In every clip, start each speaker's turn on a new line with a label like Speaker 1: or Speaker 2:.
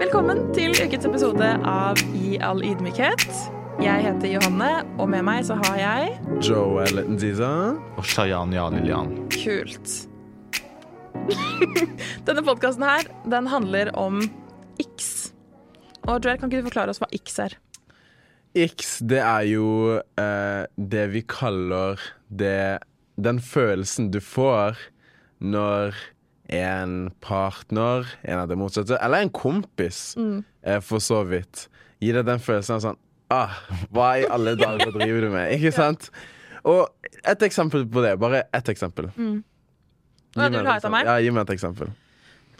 Speaker 1: Velkommen til ukens episode av I all ydmykhet. Jeg heter Johanne, og med meg så har jeg
Speaker 2: Joel Ndiza.
Speaker 3: Og Shayan Ja Lillian.
Speaker 1: Kult. Denne podkasten her, den handler om X. Og Joel, kan ikke du forklare oss hva X er?
Speaker 2: X, det er jo eh, det vi kaller det Den følelsen du får når en partner, en av det motsatte, eller en kompis,
Speaker 1: Mm.
Speaker 2: eh, for så vidt, gir deg den følelsen av sånn ah, Hva i alle dager driver du med? Ikke sant? Og et eksempel på det. Bare ett eksempel.
Speaker 1: Mm. Hva du vil ha
Speaker 2: et
Speaker 1: ut av meg?
Speaker 2: Ja, gi meg et eksempel.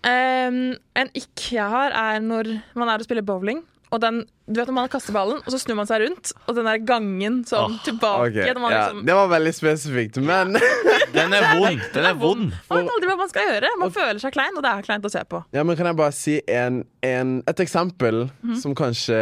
Speaker 1: Ehm, en ikk jeg har, er når man er og spiller bowling. Og den, du vet når man kaster ballen, og så snur man seg rundt, og den der gangen sånn tilbake
Speaker 2: Ok,
Speaker 1: når man
Speaker 2: ja.
Speaker 1: liksom,
Speaker 2: Det var veldig spesifikt, men
Speaker 3: Den er vond! Den er vond.
Speaker 1: Man vet aldri hva man skal gjøre. Man føler seg klein, og det er kleint å se på.
Speaker 2: Ja, men Kan jeg bare si en, en, et eksempel som kanskje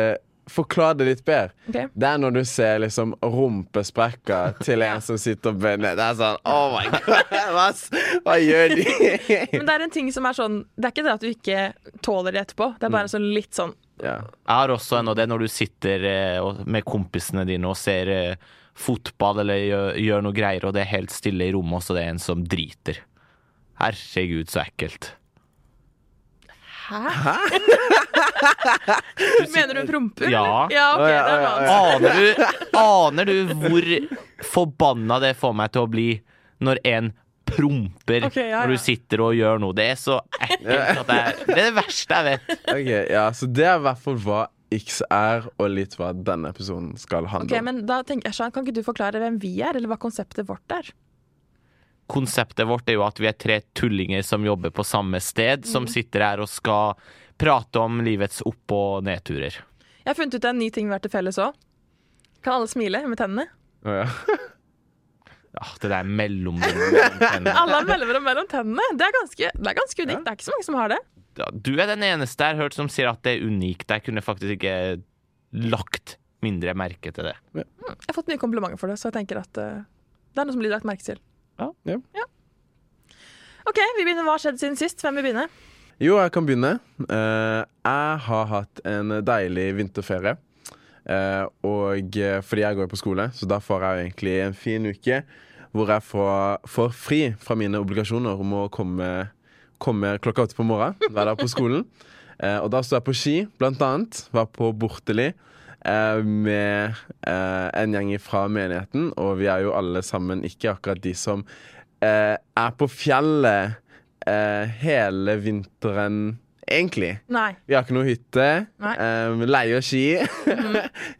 Speaker 2: forklarer det litt bedre?
Speaker 1: Mhm. Ok.
Speaker 2: Det er når du ser liksom rumpesprekker til en som sitter ved ned. Det er sånn Oh my God! Hva, s- hva gjør de?
Speaker 1: Men det er en ting som er sånn Det er ikke det at du ikke tåler det etterpå. Det er bare sånn litt sånn
Speaker 2: ja.
Speaker 3: Jeg har også en, og det er når du sitter eh, og- med kompisene dine og ser eh, fotball eller gjør, gjør noe greier, og det er helt stille i rommet, og så det er en som driter. Herregud, så ekkelt.
Speaker 1: Hæ? Mener du promper?
Speaker 3: Ja.
Speaker 1: eller? ja ok,
Speaker 2: Å, ja,
Speaker 1: det er
Speaker 2: å, ja,
Speaker 1: noe annet.
Speaker 3: Aner du, aner du hvor forbanna det får meg til å bli når en promper
Speaker 1: Ok, ja,
Speaker 3: når
Speaker 1: ja.
Speaker 3: du sitter og gjør noe? Det er så ekkelt at det er det, er det verste jeg vet.
Speaker 2: Ok, ja, Så det er i hvert fall hva X er, og litt hva denne episoden skal handle
Speaker 1: Ok, men da tenker jeg, Shan, Kan ikke du forklare hvem vi er, eller hva konseptet vårt er?
Speaker 3: Konseptet vårt er jo at vi er tre tullinger som jobber på samme sted, som sitter her og skal prate om livets opp- og nedturer.
Speaker 1: Jeg har funnet ut en ny ting vi har til felles òg. Kan alle smile med tennene?
Speaker 2: om. Å, ja.
Speaker 3: Ja, det der mellomrommet.
Speaker 1: Alle har mellomrom mellom tennene. Det er ganske, det er ganske unikt. Det er ikke så mange som har det.
Speaker 3: Du er den eneste jeg har hørt som sier at det er unikt. Jeg kunne faktisk ikke lagt mindre merke til det.
Speaker 1: Jeg har fått mye komplimenter for det, så jeg tenker at eh, det er noe som blir lagt merke til.
Speaker 2: Ja.
Speaker 1: OK, vi begynner Hva har skjedd siden sist? Hvem vil begynne?
Speaker 2: Jo, jeg kan begynne. Eh, jeg har hatt en deilig vinterferie. Eh, og eh, fordi jeg går på skole, så da får jeg egentlig en fin uke hvor jeg får, får fri fra mine obligasjoner om å komme, komme klokka åtte på morgenen hver dag på skolen. Eh, og da står jeg på ski, blant annet. Var på Borteli eh, med eh, en gjeng fra menigheten, og vi er jo alle sammen ikke akkurat de som eh, er på fjellet eh, hele vinteren, egentlig.
Speaker 1: Nei.
Speaker 2: Vi har ikke noe hytte.
Speaker 1: Nei. Mhm.
Speaker 2: Um, leier ski.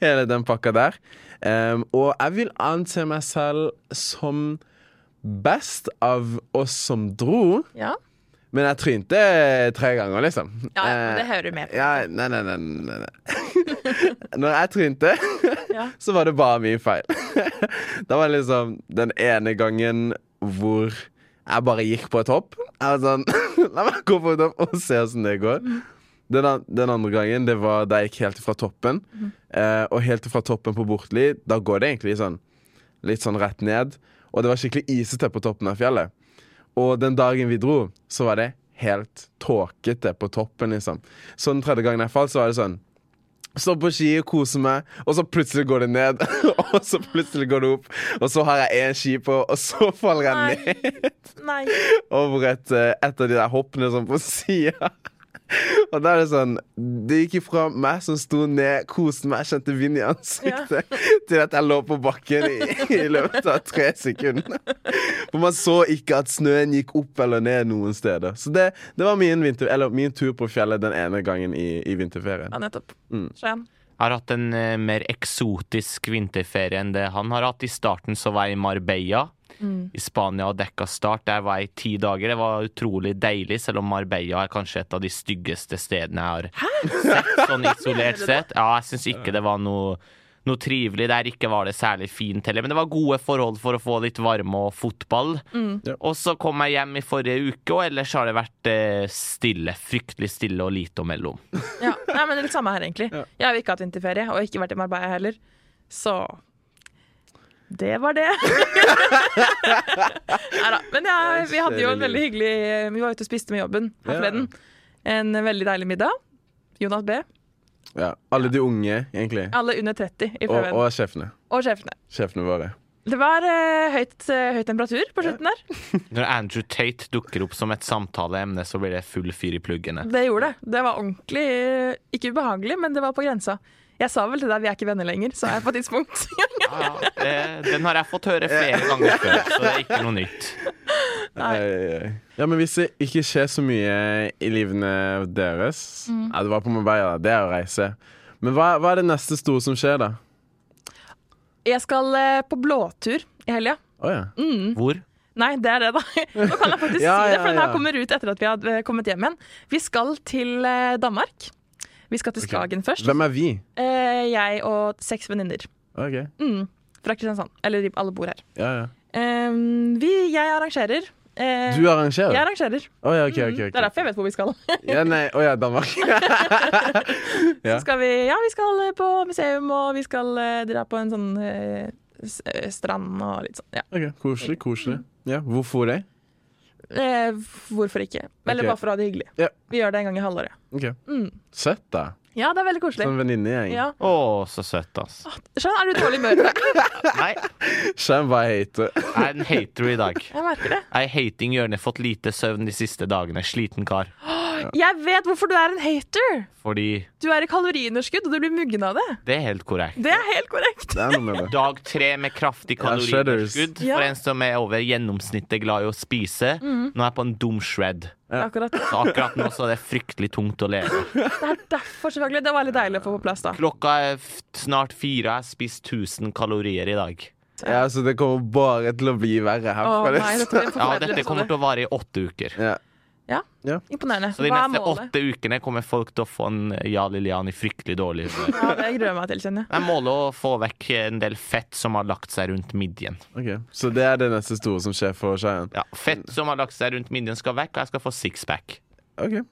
Speaker 2: Hele den pakka der. Em, og jeg vil anse meg selv som best av oss som dro,
Speaker 1: Ja,
Speaker 2: men jeg trynte tre ganger, liksom.
Speaker 1: ja men det
Speaker 2: Eh,
Speaker 1: hører du med på.
Speaker 2: ja, nei, nei, nei, nei, nei. Når jeg trynte,
Speaker 1: Ja.
Speaker 2: så var det bare min feil. Da var det liksom den ene gangen hvor jeg bare gikk på et hopp. Jeg var sånn La meg gå på et hopp og se åssen det går. Den, an- den andre gangen det var da jeg gikk helt fra toppen. Eh, og helt fra toppen på Bortli, da går det egentlig sånn litt sånn rett ned. Og det var skikkelig isete på toppen av fjellet. Og den dagen vi dro, så var det helt tåkete på toppen, liksom. Så den tredje gangen jeg falt, så var det sånn Står på ski og koser meg, og så plutselig går det ned. Og så plutselig går det opp, og så har jeg én ski på, og så faller jeg ned
Speaker 1: Nei. Nei.
Speaker 2: over et, eh, et av de der hoppene sånn på sida. Og da er det sånn Det gikk ifra meg som sto ned, koste meg, kjente vind i ansiktet, til at jeg lå på bakken i, i løpet av tre sekunder. For man så ikke at snøen gikk opp eller ned noen steder. Så det, det var min, vinter, eller min tur på fjellet den ene gangen i, i vinterferien.
Speaker 1: Ja, nettopp.
Speaker 2: Mm.
Speaker 1: Skien.
Speaker 3: Jeg har hatt en eh, mer eksotisk vinterferie enn det han har hatt. I starten så var jeg i Marbella i Spania og dekka start. Der var jeg i ti dager. Det var utrolig deilig, selv om Marbella er kanskje et av de styggeste stedene jeg har sett sånn isolert sett. Ja, jeg syns ikke det var noe noe trivelig der ikke var det særlig fint heller, men det var gode forhold for å få litt varme og fotball.
Speaker 2: Ja.
Speaker 3: Og så kom jeg hjem i forrige uke, og ellers har det vært eh, stille. Fryktelig stille og lite å melde om.
Speaker 1: Ja. Nei, men det er litt samme her, egentlig.
Speaker 2: Ja.
Speaker 1: Jeg har jo ikke hatt vinterferie, og ikke vært i Marbella heller. Så det var det. Neida, Men jeg, vi hadde jo en veldig hyggelig Vi var ute og spiste med jobben her
Speaker 2: Ja.
Speaker 1: forleden. En veldig deilig middag. Jonas B.
Speaker 2: Ja. Alle de unge, egentlig.
Speaker 1: Alle under 30 i
Speaker 2: Og,
Speaker 1: prøven. Og,
Speaker 2: og sjefene.
Speaker 1: sjefene.
Speaker 2: Sjefene våre.
Speaker 1: Det var eh, høyt, eh, høy temperatur på slutten der.
Speaker 3: Når Andrew Tate dukker opp som et samtaleemne, så blir det full fyr i pluggene.
Speaker 1: Det gjorde det. Det var ordentlig eh, ikke ubehagelig, men det var på grensa. Jeg sa vel til deg vi er ikke venner lenger, sa jeg på et tidspunkt.
Speaker 3: Ja, det- den har jeg fått høre flere ganger før, så det er ikke noe nytt.
Speaker 1: Nei.
Speaker 2: Ei, ei. Ja, men hvis det ikke skjer så mye i livene deres
Speaker 1: Mm.
Speaker 2: Ja, det var på Marbella, det er å reise. Men hva, hva er det neste store som skjer, da?
Speaker 1: Jeg skal eh, på blåtur i helga.
Speaker 2: Å ja.
Speaker 1: Mm,
Speaker 3: Hvor?
Speaker 1: Nei, det er det, da. Nå kan jeg faktisk
Speaker 2: Ja,
Speaker 1: si det, for
Speaker 2: ja,
Speaker 1: den her
Speaker 2: ja.
Speaker 1: kommer ut etter at vi har eh, kommet hjem igjen. Vi skal til eh, Danmark. Vi skal til Skagen først.
Speaker 2: Hvem er vi?
Speaker 1: Eh, jeg og seks venninner
Speaker 2: OK.
Speaker 1: Mm. fra Kristiansand. Eller de- alle bor her.
Speaker 2: Ja, ja.
Speaker 1: Eh, vi, jeg arrangerer. Eh,
Speaker 2: Du
Speaker 1: Jeg
Speaker 2: arrangerer?
Speaker 1: arrangerer.
Speaker 2: Å ja, OK.
Speaker 1: Mm,
Speaker 2: ok,
Speaker 1: Det er
Speaker 2: ok.
Speaker 1: derfor jeg vet hvor vi skal.
Speaker 2: Ja, nei, å ja, Danmark.
Speaker 1: Så
Speaker 2: Ja.
Speaker 1: skal vi, ja, vi skal eh, på museum, og vi skal eh, dra på en sånn eh, s- eh, strand og litt sånn. Ja.
Speaker 2: Ok, Koselig, koselig. Ja, Hvorfor det?
Speaker 1: Eh, hvorfor ikke? Eller
Speaker 2: Ok.
Speaker 1: bare for å ha det hyggelig.
Speaker 2: Ja.
Speaker 1: Vi gjør det en gang i halvåret.
Speaker 2: Ok,
Speaker 1: Mm.
Speaker 2: Søtt, da.
Speaker 1: Ja, det er veldig koselig.
Speaker 2: Sånn venninnegjeng.
Speaker 1: Ja.
Speaker 3: Å, så søtt, ass.
Speaker 1: Skjønn, er du i dårlig humør? i dag?
Speaker 3: Nei,
Speaker 2: Skjønn hva jeg heter.
Speaker 3: jeg er en hater i dag.
Speaker 1: Jeg merker det.
Speaker 3: Jeg er hating hjørnet, fått lite søvn de siste dagene. Sliten kar.
Speaker 1: Jeg vet hvorfor du er en hater!
Speaker 3: Fordi
Speaker 1: Du er i kaloriunderskudd, og du blir muggen av det.
Speaker 3: det er helt korrekt.
Speaker 1: Det er helt korrekt.
Speaker 2: Det er noe med det.
Speaker 3: Dag tre med kraftig
Speaker 2: Ja, shudders.
Speaker 3: kaloriunderskudd
Speaker 1: Ja.
Speaker 3: for en som er over gjennomsnittet glad i å spise. Nå er jeg på en dum shred.
Speaker 2: Ja.
Speaker 1: Akkurat.
Speaker 3: Så akkurat nå så er det fryktelig tungt å leve.
Speaker 1: Det er derfor, selvfølgelig. Det var litt deilig å få på plass, da.
Speaker 3: Klokka er f- snart fire, jeg har spist 1000 kalorier i dag.
Speaker 2: Ja, så det kommer bare til å bli verre her.
Speaker 1: Å
Speaker 2: for det-
Speaker 1: nei, dette blir en
Speaker 3: Ja,
Speaker 1: forferdelig
Speaker 3: Dette kommer
Speaker 1: episode.
Speaker 3: til å vare i åtte uker.
Speaker 2: Ja.
Speaker 1: Imponerende.
Speaker 3: Så de
Speaker 1: Hva er
Speaker 3: neste
Speaker 1: målet?
Speaker 3: åtte ukene kommer folk til å få en Ja Lillian i fryktelig dårlig humør.
Speaker 1: Ja, det gruer jeg meg til, kjenner jeg.
Speaker 3: Jeg måler å få vekk en del fett som har lagt seg rundt midjen.
Speaker 2: Ok, Så det er det neste store som skjer for Cheyenne?
Speaker 3: Ja, fett som har lagt seg rundt midjen skal vekk, og jeg skal få sixpack.
Speaker 2: Ok.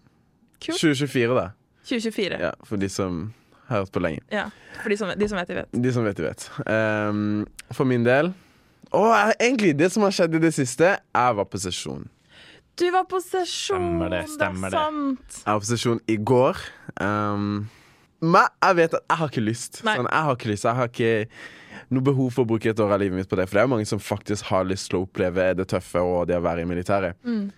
Speaker 1: Kult.
Speaker 2: 2024, da.
Speaker 1: 2024.
Speaker 2: Ja, for de som har hørt på lenge.
Speaker 1: Ja. For de som, de som vet, de vet.
Speaker 2: De som vet, de vet. Ehm, for min del Å, egentlig, det som har skjedd i det siste Jeg var på sesjon.
Speaker 1: Du var på sesjon,
Speaker 3: Stemmer det, stemmer det.
Speaker 1: er sant.
Speaker 2: Jeg var på sesjon i går. Ehm, men jeg vet at jeg har ikke lyst.
Speaker 1: Nei.
Speaker 2: Sånn, jeg har ikke lyst. Jeg har ikke noe behov for å bruke et år av livet mitt på det. For det er jo mange som faktisk har lyst til å oppleve det tøffe og det å være i militæret.
Speaker 1: Mm.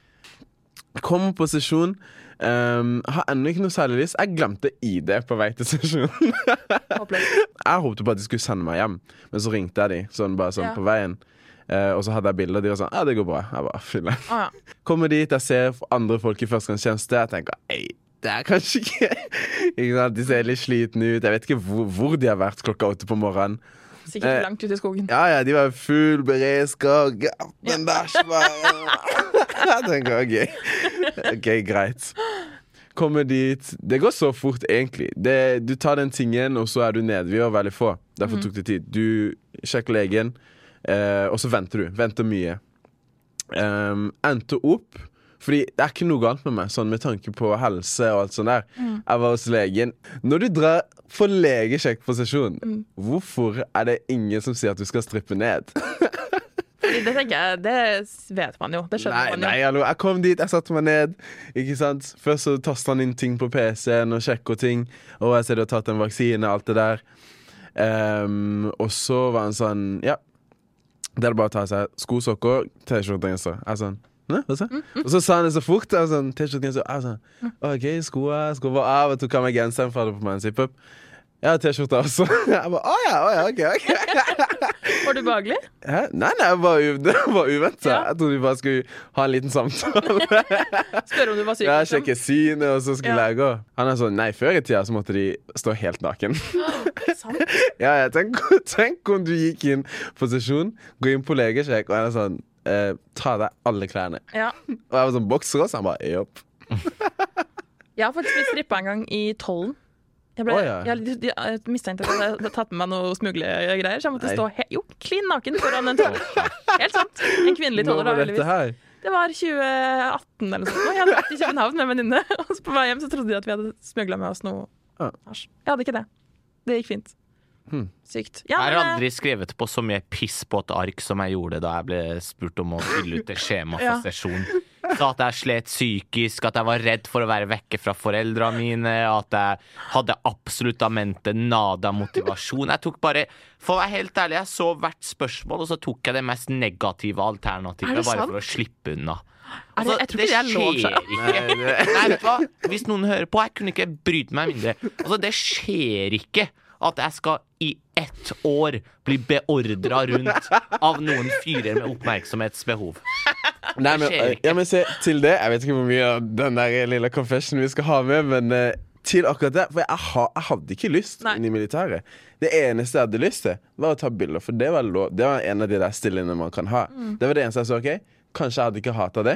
Speaker 2: Jeg Kom på sesjon. ehm, har ennå ikke noe særlig lyst. Jeg glemte ID på vei til sesjon.
Speaker 1: Håpløst.
Speaker 2: jeg håpte på at de skulle sende meg hjem, men så ringte jeg de sånn, bare sånn
Speaker 1: Ja.
Speaker 2: på veien. Eh, og så hadde jeg bilder, og de var sånn Ja, det går bra. Jeg bare, «Fille».
Speaker 1: Å ja.
Speaker 2: Kommer dit, jeg ser andre folk i førstegangstjeneste. Jeg tenker ei, det er kanskje ikke Ikke sant, De ser litt slitne ut. Jeg vet ikke hvor, hvor de har vært klokka åtte på morgenen.
Speaker 1: Sikkert
Speaker 2: Eh,
Speaker 1: langt ute i skogen.
Speaker 2: Ja, ja, de var i full beredskap. Ja, Den der svære Jeg tenker OK. OK, greit. Kommer dit. Det går så fort, egentlig. Det, du tar den tingen, og så er du nede. Vi var veldig få. Derfor tok det tid. Du sjekker legen, eh, og så venter du. Venter mye. Ehm, endte opp Fordi det er ikke noe galt med meg, sånn med tanke på helse og alt sånt der. Jeg var hos legen. Når du drar for legesjekk på sesjon, hvorfor er det ingen som sier at du skal strippe ned?
Speaker 1: Det tenker jeg, det vet man jo. Det
Speaker 2: Nei,
Speaker 1: skjønner man
Speaker 2: nei,
Speaker 1: jo.
Speaker 2: hallo. Jeg kom dit, jeg satte meg ned. Ikke sant? Først så taster han inn ting på PC-en og sjekker ting. Og jeg ser du har tatt en vaksine, alt det der. Ehm, og så var han sånn Ja, det er det bare å ta av seg sko, sokker, T-skjorte og genser. Jeg sånn Hæ, hva sa jeg? Og så sa han det så fort. Jeg sånn, T-skjorte genser. Jeg sånn, OK, skoa sko var av. Jeg tok av meg genseren for jeg hadde på meg en zip-up. Ja, T-skjorta også. Jeg bare Å ja, å ja, OK. ok
Speaker 1: Var du behagelig?
Speaker 2: Hæ? Nei, nei, jeg var u- det var uventa.
Speaker 1: Ja.
Speaker 2: Jeg trodde vi bare skulle ha en liten samtale.
Speaker 1: Spørre om du var syk?
Speaker 2: Ja,
Speaker 1: liksom.
Speaker 2: sjekke synet, og så skulle
Speaker 1: Ja.
Speaker 2: jeg gå. Han er sånn Nei, før i tida så måtte de stå helt naken.
Speaker 1: Sant.
Speaker 2: ja, ja, tenk, tenk om du gikk inn på sesjon, gå inn på legesjekk, og han er sånn eh, Ta av deg alle klærne.
Speaker 1: Ja.
Speaker 2: Og jeg var sånn bokser også. Han bare Jopp.
Speaker 1: Jeg har faktisk blitt strippa en gang i tollen. Jeg, ble,
Speaker 2: Å, ja.
Speaker 1: jeg, de- de- jeg mistenkte at jeg hadde tatt med meg noe smuglegreier, så jeg måtte
Speaker 2: Nei.
Speaker 1: stå he jo, klin naken foran en toller. Helt sant. En kvinnelig
Speaker 2: Nå
Speaker 1: toller, da,
Speaker 2: var
Speaker 1: heldigvis.
Speaker 2: dette her.
Speaker 1: Det var 2018 eller noe sånt. Jeg hadde vært i København med en venninne, og så på vei hjem så trodde de at vi hadde smugla med oss noe
Speaker 2: Ja. Hm.
Speaker 1: hasj. Jeg hadde ikke det. Det gikk fint. Sykt. Ja,
Speaker 3: Jeg har
Speaker 1: men, eh,
Speaker 3: aldri skrevet på så mye piss på et ark som jeg gjorde da jeg ble spurt om å fylle ut det skjemaet
Speaker 1: Ja.
Speaker 3: for sesjon. Sa at jeg slet psykisk, at jeg var redd for å være vekke fra foreldrene mine. At jeg hadde absolutt amente nada motivasjon. Jeg tok bare For å være helt ærlig, jeg så hvert spørsmål, og så tok jeg det mest negative
Speaker 1: Er
Speaker 3: alternativet.
Speaker 1: det
Speaker 3: Bare
Speaker 1: sant?
Speaker 3: for å slippe unna.
Speaker 1: Er det, jeg tror ikke det er lov.
Speaker 3: Altså,
Speaker 1: altså.
Speaker 3: skjer
Speaker 1: Seg.
Speaker 3: ikke. Nei, vet du hva? Hvis noen hører på, jeg kunne ikke bryte meg mindre. Altså, det skjer ikke at jeg skal i ett år bli beordra rundt av noen fyrer med oppmerksomhetsbehov.
Speaker 2: Nei, men,
Speaker 3: skjer ikke.
Speaker 2: ja, men se, til det Jeg vet ikke hvor mye av den der lille confessionen vi skal ha med, men eh, til akkurat det. For jeg, ha, jeg hadde ikke lyst
Speaker 1: Nei.
Speaker 2: inn i militæret. Det eneste jeg hadde lyst til, var å ta bilder. For det var, lov, det var en av de der stillingene man kan ha.
Speaker 1: Mm.
Speaker 2: Det var det eneste jeg så. ok, Kanskje jeg hadde ikke hata det.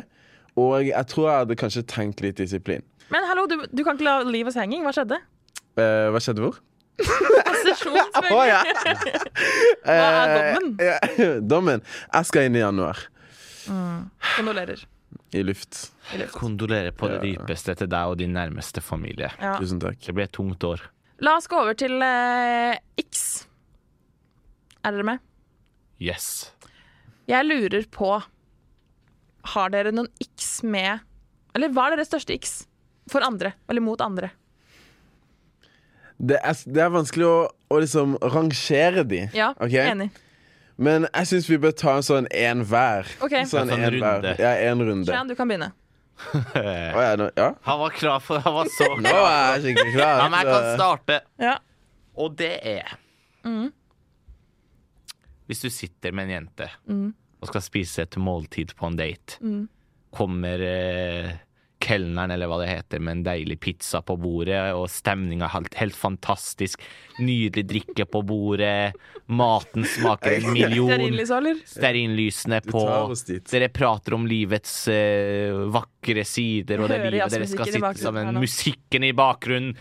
Speaker 2: Og jeg tror jeg hadde kanskje trengt litt disiplin.
Speaker 1: eh, Men hallo, du, du kan ikke la livet oss henging. Hva skjedde?
Speaker 2: Eh, hva skjedde hvor?
Speaker 1: Sesjon,
Speaker 2: Å ja!
Speaker 1: selvfølgelig. Hva er dommen?
Speaker 2: Eh, ja, dommen? Jeg skal inn i januar.
Speaker 1: Kondolerer.
Speaker 2: I luft.
Speaker 3: Kondolerer på det
Speaker 2: Ja.
Speaker 3: dypeste til deg og din nærmeste familie.
Speaker 1: Ja.
Speaker 2: Tusen takk.
Speaker 3: Det blir et tungt år.
Speaker 1: La oss gå over til eh, X. Er dere med?
Speaker 3: Yes.
Speaker 1: Jeg lurer på Har dere noen X med Eller hva er deres største X for andre? Eller mot andre?
Speaker 2: Det er, det er vanskelig å, å liksom rangere de.
Speaker 1: Ja,
Speaker 2: ok?
Speaker 1: enig.
Speaker 2: Men jeg syns vi bør ta en sånn en hver.
Speaker 1: Ok.
Speaker 2: Sånn
Speaker 3: Ja, sånn
Speaker 2: en
Speaker 3: runde.
Speaker 2: hver. Ja, en runde.
Speaker 1: Shan, du kan begynne.
Speaker 2: Å, ja, nå, ja.
Speaker 3: Han var klar for Han var så
Speaker 2: nå
Speaker 3: klar.
Speaker 2: er jeg skikkelig klar.
Speaker 3: Ja, men jeg kan
Speaker 2: så-
Speaker 3: starte.
Speaker 1: Ja.
Speaker 3: Og det er Hvis du sitter med en jente og skal spise et måltid på en date, kommer eh, kelneren eller hva det heter med en deilig pizza på bordet, og stemninga er helt, helt fantastisk, nydelig drikke på bordet, maten smaker en million.
Speaker 1: Stearinlys, liksom, eller?
Speaker 3: Stearinlysene på
Speaker 2: tar oss dit.
Speaker 3: Dere prater om livets eh, vakre sider, og det
Speaker 1: Hører
Speaker 3: livet dere
Speaker 1: jazzmusikken
Speaker 3: skal
Speaker 1: i
Speaker 3: sitte
Speaker 1: bakgrunnen her
Speaker 3: sammen.
Speaker 1: nå.
Speaker 3: Musikken i bakgrunnen.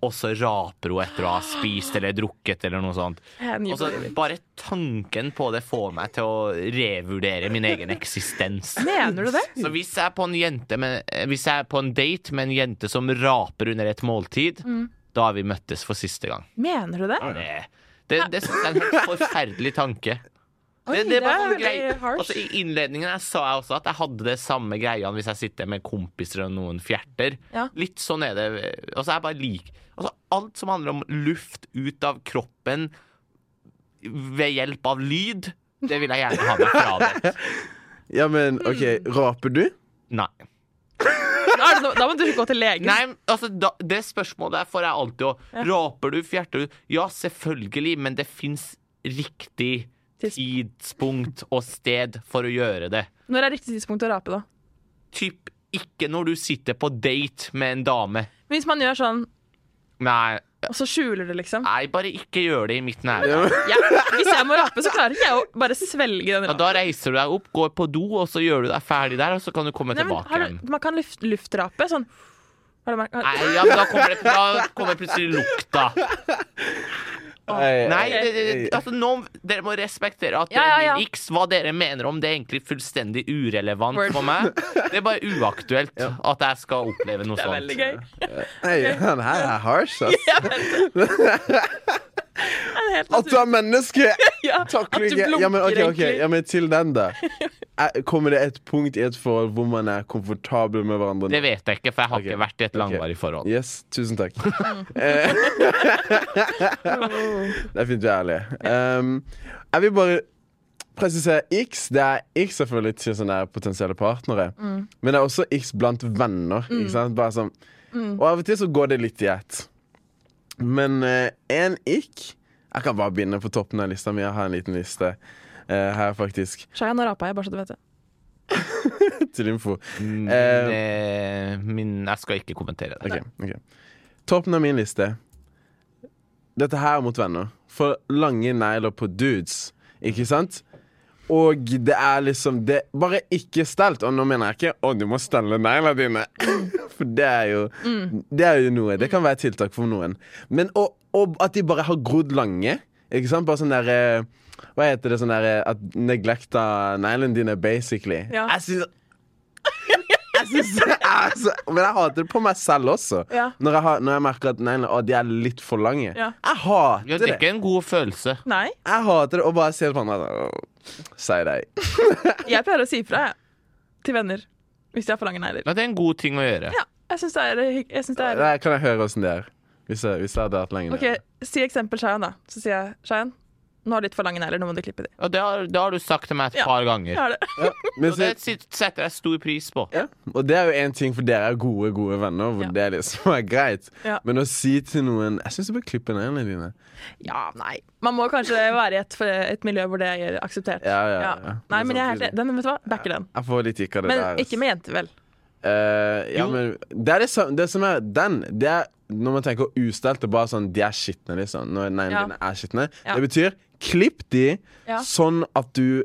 Speaker 3: Og så raper hun etter å ha spist eller drukket eller noe sånt.
Speaker 1: Jeg er ny
Speaker 3: Og
Speaker 1: på
Speaker 3: så
Speaker 1: det.
Speaker 3: bare tanken på det får meg til å revurdere min egen eksistens.
Speaker 1: Mener du det?
Speaker 3: Så hvis jeg er på en, jente med, eh, hvis jeg er på en date med en jente som raper under et måltid,
Speaker 1: Mm.
Speaker 3: da har vi møttes for siste gang.
Speaker 1: Mener du det?
Speaker 3: Det, det, det synes jeg er en helt forferdelig tanke.
Speaker 1: Oi,
Speaker 3: Det, det var
Speaker 1: er
Speaker 3: sånn
Speaker 1: veldig
Speaker 3: grei.
Speaker 1: harsh.
Speaker 3: Altså, I innledningen her sa jeg også at jeg hadde det samme greia hvis jeg sitter med kompiser og noen fjerter.
Speaker 1: Ja.
Speaker 3: Litt sånn er det. Altså, jeg bare lik. Altså, alt som handler om luft ut av kroppen ved hjelp av lyd, det vil jeg gjerne ha meg frabedt.
Speaker 2: Ja, men
Speaker 1: Mm.
Speaker 2: OK. Raper du?
Speaker 3: Nei.
Speaker 1: Da er det no- Da må du gå til legen.
Speaker 3: Nei, altså, da, det spørsmålet der får jeg alltid òg. Raper du, fjerter du? Ja, selvfølgelig, men det fins riktig tidspunkt og sted for å gjøre det.
Speaker 1: Når er riktig tidspunkt å rape, da?
Speaker 3: typ ikke når du sitter på date med en dame.
Speaker 1: Hvis man gjør sånn,
Speaker 3: Nei,
Speaker 1: og så skjuler det, liksom.
Speaker 3: nei bare ikke gjør det i mitt nærvær.
Speaker 1: Ja, hvis jeg må rape, så klarer ikke jeg å bare svelge den
Speaker 3: Ja,
Speaker 1: rapen.
Speaker 3: da reiser du deg opp, går på do, og så gjør du deg ferdig der, og så kan du komme
Speaker 1: Nei, men,
Speaker 3: tilbake
Speaker 1: har
Speaker 3: igjen.
Speaker 1: du, man kan luft, luftrape sånn. Har du merket- har-
Speaker 3: Nei, ja, men da kommer, det, da kommer plutselig lukta.
Speaker 2: Nei.
Speaker 3: Nei, det, det,
Speaker 2: eh,
Speaker 3: altså nå, dere må respektere at det
Speaker 1: Ja, ja,
Speaker 3: er
Speaker 1: ja.
Speaker 3: min x. Hva dere mener om det, er egentlig fullstendig urelevant
Speaker 1: Word.
Speaker 3: for meg. Det er bare uaktuelt at jeg skal oppleve noe
Speaker 1: Det er veldig
Speaker 3: sånt.
Speaker 1: gøy.
Speaker 2: Nei, han her er harsh, ass.
Speaker 1: Jeg vet det. Det er helt
Speaker 2: At du
Speaker 1: naturlig.
Speaker 2: er menneske!
Speaker 1: Ja,
Speaker 2: Takler
Speaker 1: at du
Speaker 2: ikke ja, men, ok,
Speaker 1: blunker,
Speaker 2: ok,
Speaker 1: egentlig.
Speaker 2: ja, men til den, da. Er- Kommer det et punkt i et forhold hvor man er komfortabel med hverandre?
Speaker 3: Det vet jeg ikke, for jeg har
Speaker 2: Ok.
Speaker 3: ikke vært i et langvarig forhold.
Speaker 2: Yes, tusen takk. Eh, det er fint vi er ærlige. Um, jeg vil bare presisere X. Det er X selvfølgelig til sånne potensielle partnere. Men det er også X blant venner. Ikke sant? Bare sånn. Og av og til så går det litt i ett. Men eh, en ick Jeg kan bare begynne på toppen av lista mi. Jeg har en liten liste eh, her, faktisk.
Speaker 1: Shaya, nå rapa jeg, bare så du vet det.
Speaker 2: Til info.
Speaker 3: Mm,
Speaker 2: Eh,
Speaker 3: det- min, jeg skal ikke kommentere det.
Speaker 2: Ok, ok. Toppen av min liste. Dette her er mot venner. For lange negler på dudes, ikke sant? Og det er liksom det Bare ikke stelt. Og nå mener jeg ikke 'Å, du må stelle neglene dine'. For det er jo Det er jo noe. Det kan være tiltak for noen. Men og, og at de bare har grodd lange. Ikke sant? Bare sånn derre Hva heter det sånn derre At neglecta neglene dine, basically.
Speaker 1: Ja.
Speaker 2: Jeg synes jeg synes det er så Men jeg hater det på meg selv også.
Speaker 1: Ja.
Speaker 2: Når, jeg har, når jeg merker at neglene å, de er litt for lange.
Speaker 1: Ja.
Speaker 2: Jeg hater
Speaker 3: Ja, det er
Speaker 2: det.
Speaker 3: ikke en god følelse.
Speaker 1: Nei,
Speaker 2: Jeg hater det å bare se på andre. Si deg.
Speaker 1: jeg pleier å si ifra, jeg. Til venner. Hvis de har for lange negler.
Speaker 3: Ja, det er en god ting å gjøre.
Speaker 1: Ja, jeg syns det er, hygg- jeg synes det er
Speaker 2: Nei, kan jeg høre åssen det er? Hvis jeg, hvis jeg hadde hatt lenge
Speaker 1: OK, si eksempel Shayan, da. Så sier jeg Shayan, nå har du litt for lange negler, nå må du klippe de.
Speaker 3: Ja, det, har, det har du sagt til meg et
Speaker 1: Ja.
Speaker 3: par ganger.
Speaker 1: Jeg har det.
Speaker 2: Ja, men
Speaker 3: Og det
Speaker 2: så-
Speaker 3: sit- setter jeg stor pris på.
Speaker 2: ja. Og det er jo én ting, for dere er gode, gode venner, hvor
Speaker 1: Ja.
Speaker 2: det liksom er greit.
Speaker 1: Ja.
Speaker 2: Men å si til noen Jeg syns du bør klippe neglene dine.
Speaker 1: Ja, nei. Man må kanskje være i et, et miljø hvor det er akseptert.
Speaker 2: Ja, ja, ja.
Speaker 1: Nei, men jeg er helt
Speaker 2: samtidig-
Speaker 1: enig. Den- Vet du hva, backer den.
Speaker 2: Jeg får litt ikke av det
Speaker 1: Men
Speaker 2: der. ass.
Speaker 1: ikke med jenter, vel.
Speaker 2: Eh, ja,
Speaker 3: Jo.
Speaker 2: men det er det, sam- det som er den det er, Når man tenker ustelt, det er bare sånn De er skitne, liksom. Når neglene
Speaker 1: Ja.
Speaker 2: dine er skitne.
Speaker 1: Ja.
Speaker 2: Det betyr klipp de
Speaker 1: Ja.
Speaker 2: sånn at du er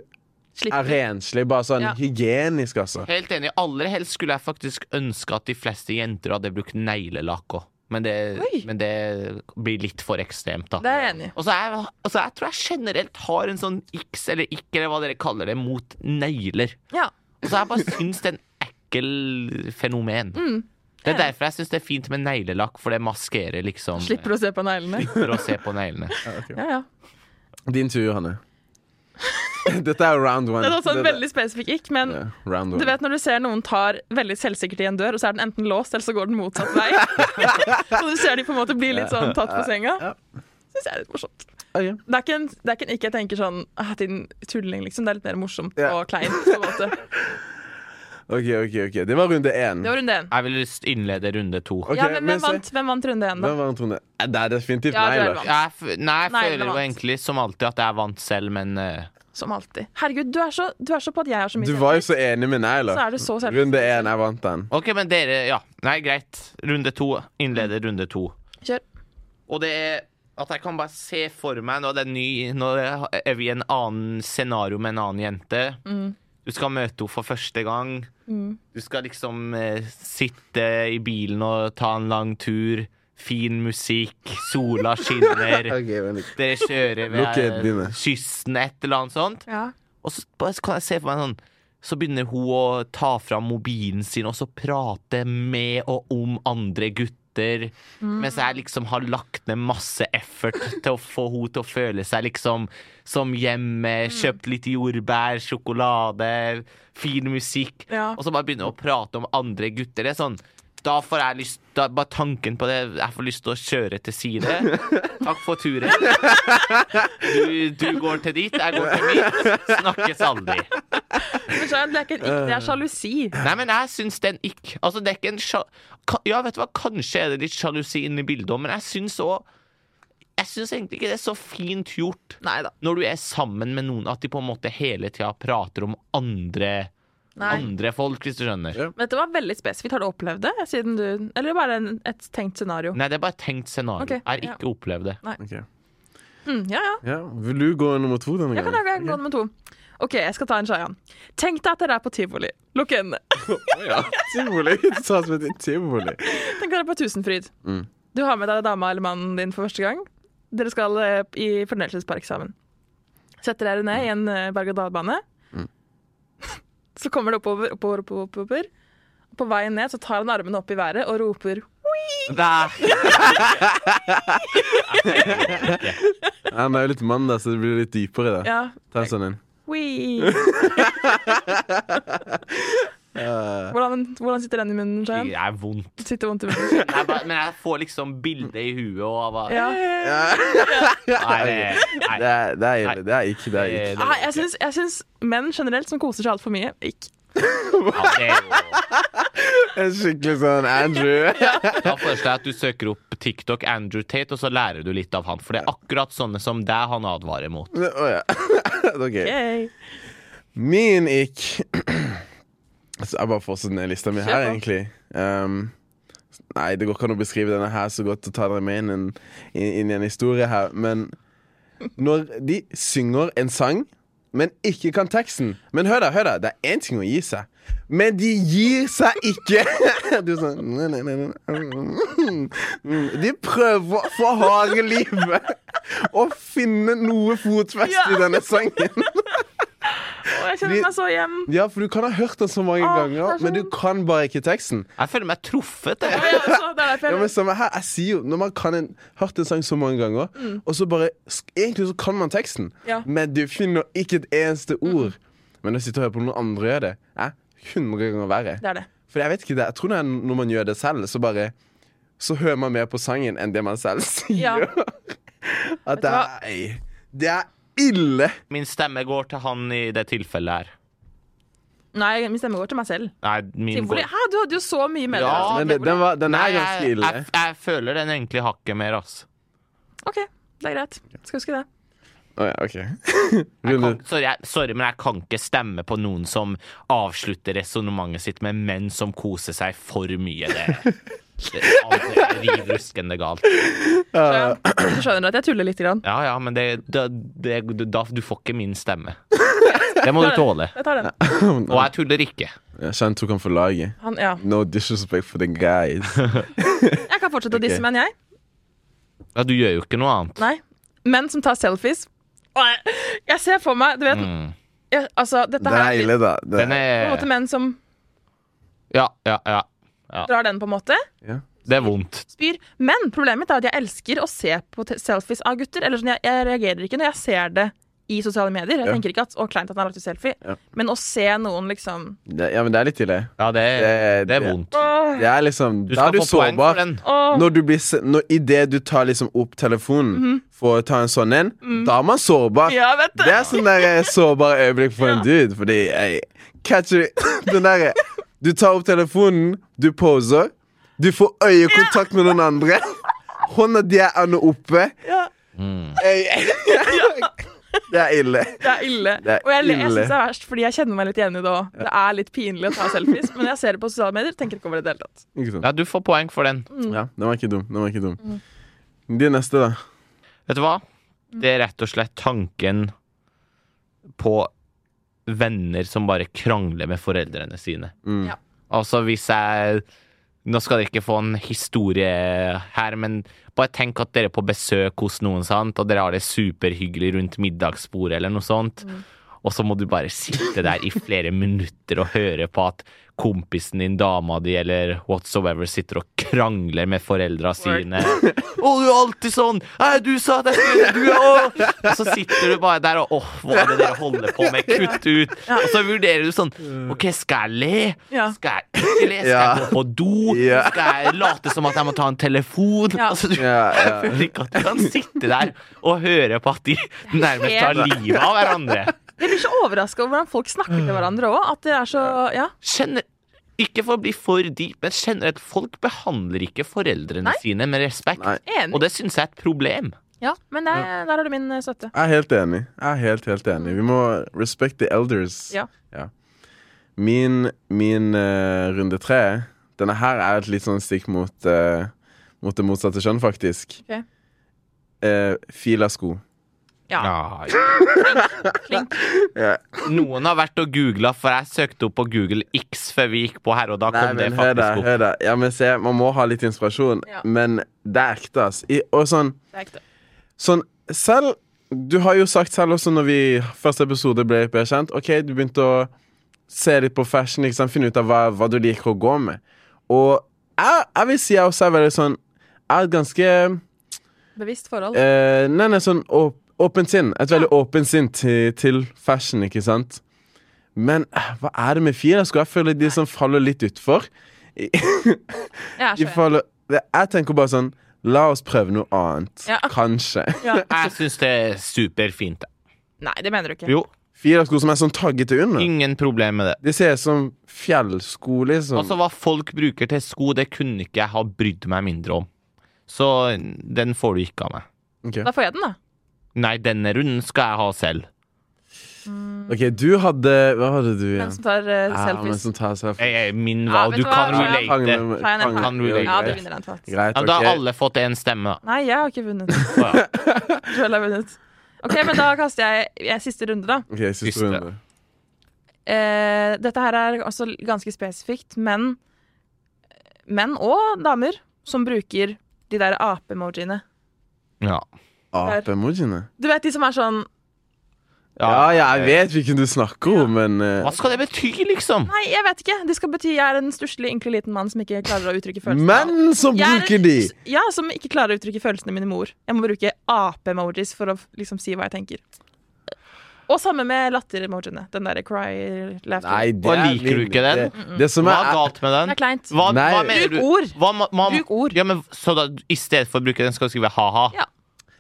Speaker 1: Slipp.
Speaker 2: renslig. Bare sånn
Speaker 1: Ja.
Speaker 2: hygienisk, altså.
Speaker 3: Helt enig. Aller helst skulle jeg faktisk ønske at de fleste jenter hadde brukt neglelakk òg. Men, det-
Speaker 1: Oi.
Speaker 3: men det blir litt for ekstremt, da.
Speaker 1: Det er jeg enig i.
Speaker 3: Og så er, jeg- altså jeg tror jeg generelt har en sånn x eller ikke, eller hva dere kaller det, mot negler.
Speaker 1: Ja.
Speaker 3: Og så jeg bare syns det er en ekkel fenomen.
Speaker 1: Mm.
Speaker 3: Det er derfor jeg syns det er fint med neglelakk, for det maskerer liksom
Speaker 1: Slipper å se på neglene.
Speaker 3: for å se på neglene.
Speaker 1: Ja, ja.
Speaker 2: Din tur, Hanne. Dette er round one.
Speaker 1: Det er også en
Speaker 2: Dette-
Speaker 1: veldig spesifikk ikk, men
Speaker 2: Ja, round
Speaker 1: du
Speaker 2: one.
Speaker 1: vet når du ser noen tar veldig selvsikkert i en dør, og så er den enten låst, eller så går den motsatt vei. så du ser de på en måte bli litt sånn tatt på senga.
Speaker 2: Ja.
Speaker 1: Syns jeg er litt morsomt.
Speaker 2: Ok.
Speaker 1: Det er ikke en, det er ikke en ikke jeg tenker sånn ah, din tulling, liksom. Det er litt mer morsomt
Speaker 2: Ja.
Speaker 1: og kleint, på en måte.
Speaker 2: OK, OK. ok Det var runde én.
Speaker 1: Det var runde én.
Speaker 3: Jeg vil lyst innlede runde to.
Speaker 2: Ok,
Speaker 1: ja, men hvem
Speaker 2: men se.
Speaker 1: vant, hvem vant runde én, da?
Speaker 2: Hvem var rundt runde? Eh, Det er definitivt
Speaker 1: Ja, du er
Speaker 2: negler.
Speaker 1: vant.
Speaker 3: Jeg, f- nei, jeg
Speaker 1: Neglene
Speaker 3: føler jo
Speaker 1: vant.
Speaker 3: egentlig som alltid at jeg vant selv, men eh,
Speaker 1: Som alltid. Herregud, du er så, du er så på at jeg har så mye
Speaker 2: Du var jo
Speaker 1: selvtillit.
Speaker 2: så enig med negler.
Speaker 1: Så er du så selvsikker.
Speaker 2: Runde én, jeg vant den.
Speaker 3: OK, men dere Ja, nei, greit. Runde to. Innleder runde to.
Speaker 1: Kjør.
Speaker 3: Og det er at jeg kan bare se for meg Nå er det ny Nå er vi i en annen scenario med en annen jente Du skal møte henne for første gang Du skal liksom eh, sitte i bilen og ta en lang tur Fin musikk Sola skinner
Speaker 2: Ok, vent litt.
Speaker 3: Dere kjører
Speaker 2: Lukk
Speaker 3: ved
Speaker 2: øynene.
Speaker 3: kysten Et eller annet sånt
Speaker 1: Ja.
Speaker 3: Og så bare kan jeg se for meg sånn så begynner hun å ta fram mobilen sin og så prate med og om andre gutter. Mens jeg liksom har lagt ned masse effort til å få hun til å føle seg liksom som hjemme. Kjøpt litt jordbær, sjokolade, fin musikk.
Speaker 1: Ja.
Speaker 3: Og så bare begynner hun å prate om andre gutter. Det er sånn da får jeg lyst da, Bare tanken på det Jeg får lyst til å kjøre til side. Takk for turen. Du, du går til dit, jeg går til mitt. Snakkes aldri.
Speaker 1: Men så er det ikke en ikk, det er sjalusi.
Speaker 3: Nei, men jeg syns den ikke Altså, det er ikke en sjal... Ka- Ja, vet du hva, kanskje er det litt sjalusi inne i bildet òg, men jeg syns òg Jeg syns egentlig ikke det er så fint gjort
Speaker 1: Nei da.
Speaker 3: når du er sammen med noen, at de på en måte hele tida prater om andre
Speaker 1: Nei.
Speaker 3: Andre folk, hvis du skjønner.
Speaker 2: Ja.
Speaker 1: Dette var veldig spesifikt. Har du opplevd det? Siden du, eller bare en, et tenkt
Speaker 2: Mm.
Speaker 1: scenario?
Speaker 3: Nei, det er bare et tenkt scenario.
Speaker 1: Ok,
Speaker 3: Jeg har
Speaker 1: ja.
Speaker 3: ikke opplevd det.
Speaker 2: Ok.
Speaker 1: Mm, ja, ja.
Speaker 2: Ja, Vil du gå nummer to denne
Speaker 1: Jeg kan lage en gå nummer to. OK, jeg skal ta en Shayan. Tenk deg at dere er på tivoli. Lukk øynene.
Speaker 2: Tivoli. Du sa som et tivoli.
Speaker 1: Tenk deg dere er på Tusenfryd.
Speaker 2: Mm.
Speaker 1: Du har med deg dama eller mannen din for første gang. Dere skal eh, i fornøyelsespark sammen. Setter dere ned i en eh, berg-og-dal-bane. Så kommer det oppover, oppover, oppover, oppover. På veien ned så tar han armene opp i været og roper
Speaker 3: Nei.
Speaker 2: Han er jo litt mann, da, så det blir litt dypere. da
Speaker 1: Ja,
Speaker 2: Ta en sånn en.
Speaker 1: Wee. hvordan, hvordan sitter den i munnen? Jan?
Speaker 3: Det er vondt.
Speaker 1: Sitter vondt i munnen?
Speaker 3: Jeg bare, men jeg får liksom bildet i huet og hva
Speaker 1: Ja.
Speaker 3: Nei, det- nei.
Speaker 2: Det er, det er ille. Det er ikke. Det er ikke.
Speaker 3: det-
Speaker 1: Ah, jeg, syns, jeg syns menn generelt som koser seg altfor mye, ikke
Speaker 3: Ja, det er jo
Speaker 2: En skikkelig sånn Andrew.
Speaker 3: Da foreslår jeg at du søker opp TikTok Andrew Tate, og så lærer du litt av han. For det er akkurat sånne som deg han advarer mot.
Speaker 2: Å ja. OK.
Speaker 1: Yay.
Speaker 2: Min ikk altså, Jeg bare fortsetter ned lista mi her,
Speaker 1: Kjør på.
Speaker 2: egentlig. Um, nei, det går ikke an å beskrive denne her så godt og ta dere med inn, en, inn, inn i en historie her, men når de synger en sang, men ikke kan teksten Men hør da, hør da, det er én ting å gi seg, men de gir seg ikke! Du er sånn nei, nei, nei, nei. Mm. De prøver for harde livet å finne noe fotfeste
Speaker 1: Ja.
Speaker 2: i denne sangen.
Speaker 1: Å, jeg kjenner meg så hjem.
Speaker 2: Ja, for du kan ha hørt den så mange
Speaker 1: Åh, det
Speaker 2: ganger,
Speaker 1: er sånn. så
Speaker 2: men du kan bare ikke teksten.
Speaker 3: Jeg føler meg truffet.
Speaker 1: Å,
Speaker 3: Jeg.
Speaker 1: jeg også, det er derfor
Speaker 2: Ja,
Speaker 1: jeg
Speaker 2: men samme her, jeg sier jo, Når man kan en, hørt en sang så mange ganger, og så bare sk- Egentlig så kan man teksten,
Speaker 1: Mm. Ja.
Speaker 2: men du finner ikke et eneste ord. Men når jeg sitter og hører på noen andre gjøre det, jeg 100 ganger verre.
Speaker 1: Det er det.
Speaker 2: For jeg vet ikke det. Jeg tror det er når man gjør det selv, så bare Så hører man mer på sangen enn det man selv sier.
Speaker 1: Ja.
Speaker 2: At
Speaker 1: du
Speaker 2: det
Speaker 1: hva?
Speaker 2: er Det er ille!
Speaker 3: Min stemme går til han i det tilfellet her.
Speaker 1: Nei, min stemme går til meg selv.
Speaker 3: Nei, min
Speaker 1: Tivoli.
Speaker 3: går
Speaker 1: Hæ, du hadde jo så mye med
Speaker 3: Ja,
Speaker 1: deg.
Speaker 2: Men det, den, var, den
Speaker 3: Nei,
Speaker 2: er ganske
Speaker 3: jeg,
Speaker 2: ille.
Speaker 3: jeg, jeg føler den egentlig hakket mer, ass.
Speaker 1: OK, det er greit. Skal huske det.
Speaker 2: Å ja, OK.
Speaker 3: Jeg
Speaker 2: Rune.
Speaker 3: kan, sorry, jeg, sorry, men jeg kan ikke stemme på noen som avslutter resonnementet sitt med menn som koser seg for mye. Det, det er riv ruskende galt.
Speaker 2: Eh.
Speaker 1: Så, du skjønner at jeg tuller lite grann.
Speaker 3: Ja, ja, men det, det, det, du- da, du får ikke min stemme. Det må du tåle.
Speaker 1: Jeg tar den.
Speaker 3: Og jeg tuller ikke.
Speaker 2: Jeg kjenner tok han for laget.
Speaker 1: Han, ja.
Speaker 2: No disrespect for the guys.
Speaker 1: Jeg kan fortsette å disse
Speaker 2: Ok.
Speaker 1: menn, jeg.
Speaker 3: Ja, du gjør jo ikke noe annet.
Speaker 1: Nei. Menn som tar selfies. Åh, Jeg jeg ser for meg Du vet,
Speaker 2: Mm.
Speaker 1: jeg, altså, dette
Speaker 2: Den
Speaker 1: her
Speaker 2: er
Speaker 1: er
Speaker 2: ille, da. Det-
Speaker 3: Den
Speaker 1: på en måte
Speaker 3: er
Speaker 1: menn som
Speaker 3: Ja, ja, ja.
Speaker 1: drar den, på en måte.
Speaker 2: ja.
Speaker 3: Det er vondt.
Speaker 1: Spyr. Men problemet mitt er at jeg elsker å se på te- selfies av gutter. Eller sånn, jeg, jeg reagerer ikke når jeg ser det i sosiale medier. Jeg
Speaker 2: Ja.
Speaker 1: tenker ikke at å, kleint at han har lagt ut selfie.
Speaker 2: Ja.
Speaker 1: Men å se noen liksom
Speaker 2: Det, ja, men det er litt ille.
Speaker 3: Ja, det,
Speaker 2: Det-
Speaker 3: det er
Speaker 2: det-
Speaker 3: vondt.
Speaker 1: Åh,
Speaker 2: Det er liksom
Speaker 3: Du
Speaker 2: Da er
Speaker 3: skal
Speaker 2: du
Speaker 3: få poeng for
Speaker 2: sårbar.
Speaker 3: den.
Speaker 1: åh.
Speaker 2: Når du blir se- når, I det du tar liksom opp telefonen for å ta en sånn en, da er man sårbar.
Speaker 1: Mhm. Ja, vet du.
Speaker 2: Det er sånn der eh, sårbare øyeblikk for en dude, fordi jeg catcher den derre Du tar opp telefonen, du poser, du får øyekontakt med noen andre. Hånda di er ennå oppe.
Speaker 1: Ja.
Speaker 3: Mm.
Speaker 2: Ei, Det er ille.
Speaker 1: Det er ille.
Speaker 2: Det er
Speaker 1: og jeg, jeg
Speaker 2: ille.
Speaker 1: syns det er verst, fordi jeg kjenner meg litt igjen i det òg. Det er litt pinlig å ta selfies, men jeg ser det på sosiale medier. Tenker ikke over det i det hele tatt.
Speaker 2: Ikke sant?
Speaker 3: Ja, du får poeng for den.
Speaker 2: Ja, den var ikke dum. Den var ikke dum.
Speaker 3: Mm.
Speaker 2: De neste, da.
Speaker 3: Vet du hva? Det er rett og slett tanken på venner som bare krangler med foreldrene sine.
Speaker 2: Mm.
Speaker 1: Ja.
Speaker 3: Altså hvis jeg Nå skal dere ikke få en historie her, men bare tenk at dere er på besøk hos noen, sant? og dere har det superhyggelig rundt middagsbordet eller noe sånt. Og så må du bare sitte der i flere minutter og høre på at kompisen din, dama di eller whatsoever sitter og krangler med foreldra sine. Å, du er alltid sånn! Nei, du sa det! Du er å. Og så sitter du bare der og åh, hva er det dere holder på med? Kutt ut! Og så vurderer du sånn OK, skal jeg le?
Speaker 1: Ja.
Speaker 3: Skal jeg ikke le? Skal
Speaker 2: Ja.
Speaker 3: jeg gå på do?
Speaker 2: Ja.
Speaker 3: Skal jeg late som at jeg må ta en telefon?
Speaker 1: Ja.
Speaker 3: Altså, du,
Speaker 2: Ja, ja.
Speaker 3: Jeg føler ikke at du kan sitte der og høre på at de nærmest tar livet av hverandre.
Speaker 1: Jeg blir så overraska over hvordan folk snakker til hverandre òg. At det er så Ja.
Speaker 3: Kjenner ikke for å bli for deep, men kjenner at folk behandler ikke foreldrene
Speaker 1: Nei.
Speaker 3: sine med respekt.
Speaker 2: Nei.
Speaker 1: Enig.
Speaker 3: Og det syns jeg er et problem.
Speaker 1: Ja, men det, er- der har du min eh, støtte.
Speaker 2: Jeg er helt enig. Jeg er helt, helt enig. Vi må respect the elders.
Speaker 1: Ja.
Speaker 2: Min, min eh, runde tre Denne her er et litt sånn stikk mot, eh, mot det motsatte kjønn, faktisk.
Speaker 1: Ok.
Speaker 2: Eh, fila sko.
Speaker 1: Ja. Flink.
Speaker 3: Noen har vært og googla, for jeg søkte opp på Google X før vi gikk på her, og da
Speaker 2: Nei,
Speaker 3: kom det
Speaker 2: men hør da,
Speaker 3: faktisk opp.
Speaker 2: hør da. Ja, men se, man må ha litt inspirasjon.
Speaker 1: Ja.
Speaker 2: Men det er ekte, ass. I, og sånn,
Speaker 1: Det er ekte.
Speaker 2: sånn Selv Du har jo sagt selv også når vi første episode ble, ble kjent, OK, du begynte å se litt på fashion, ikke sant? finne ut av hva, hva du liker å gå med. Og jeg, jeg vil si jeg også er veldig sånn Jeg er et ganske
Speaker 1: Bevisst forhold.
Speaker 2: Eh, nei, nei, sånn åp åpent sinn. Et veldig åpent sinn til, til fashion, ikke sant? Men eh, hva er det med fire? Skulle jeg føle de som faller litt utfor?
Speaker 1: Jeg er så
Speaker 2: De
Speaker 1: enig.
Speaker 2: faller, jeg tenker bare sånn La oss prøve noe annet.
Speaker 1: Ja.
Speaker 2: Kanskje.
Speaker 1: Ja.
Speaker 3: Jeg syns det er superfint.
Speaker 1: Nei, det mener du ikke.
Speaker 3: Jo,
Speaker 2: Fire sko som er sånn taggete under.
Speaker 3: ingen problem med det.
Speaker 2: De ser ut som fjellsko, liksom.
Speaker 3: Altså Hva folk bruker til sko, det kunne ikke jeg ha brydd meg mindre om. Så den får du ikke av meg.
Speaker 2: Ok.
Speaker 1: Da får jeg den, da.
Speaker 3: Nei, denne runden skal jeg ha selv.
Speaker 2: OK, du hadde Hva hadde du
Speaker 1: Den
Speaker 2: igjen?
Speaker 1: som tar eh,
Speaker 2: Ja, men
Speaker 1: selfies.
Speaker 2: som tar selfies.
Speaker 3: Jeg, jeg, min
Speaker 1: Ja,
Speaker 3: valg.
Speaker 1: vet
Speaker 3: du
Speaker 1: du hva?
Speaker 3: kan
Speaker 1: Ja, ja.
Speaker 3: relate.
Speaker 2: Kan-
Speaker 1: Ta en en.
Speaker 2: kan-
Speaker 3: Kan relate.
Speaker 1: Ja, du
Speaker 2: greit.
Speaker 1: vinner den faktisk.
Speaker 2: Greit,
Speaker 3: Ja, da
Speaker 2: ok.
Speaker 3: har alle fått én stemme. da.
Speaker 1: Nei, jeg har ikke vunnet. Jeg
Speaker 3: Å, ja.
Speaker 1: tror jeg har vunnet. OK, men da kaster jeg, jeg siste runde, da.
Speaker 2: OK, siste
Speaker 3: Siste.
Speaker 2: runde.
Speaker 1: Eh, dette her er også ganske spesifikt, men menn og damer som bruker de der ape-emojiene.
Speaker 3: Ja.
Speaker 2: Ape-emojiene.
Speaker 1: Du vet de som er sånn
Speaker 2: Ja, ja, jeg vet hvilken du snakker om, men eh,
Speaker 3: Hva skal det bety, liksom?
Speaker 1: Nei, jeg vet ikke. De skal bety jeg er en stusslig, ynkelig liten mann som ikke klarer å uttrykke følelsene.
Speaker 2: Menn som
Speaker 1: Jeg er-
Speaker 2: bruker de!
Speaker 1: Ja, som ikke klarer å uttrykke følelsene mine med ord. Jeg må bruke ape-emojis for å liksom si hva jeg tenker. Og samme med latter-emojiene. Den derre cry laughter.
Speaker 2: Nei, det
Speaker 3: Og
Speaker 2: er
Speaker 3: liker du
Speaker 2: min-
Speaker 3: ikke den?
Speaker 2: Det, det som
Speaker 3: Hva
Speaker 2: er
Speaker 3: er galt med
Speaker 1: Det er
Speaker 3: den?
Speaker 1: kleint.
Speaker 3: Hva,
Speaker 2: Nei.
Speaker 3: hva mener du?
Speaker 1: Bruk ord.
Speaker 3: Hva, ma- ma-
Speaker 1: Bruk ord.
Speaker 3: Ja, men, så da, i stedet for å bruke den, skal du skrive ha-ha?
Speaker 1: Ja.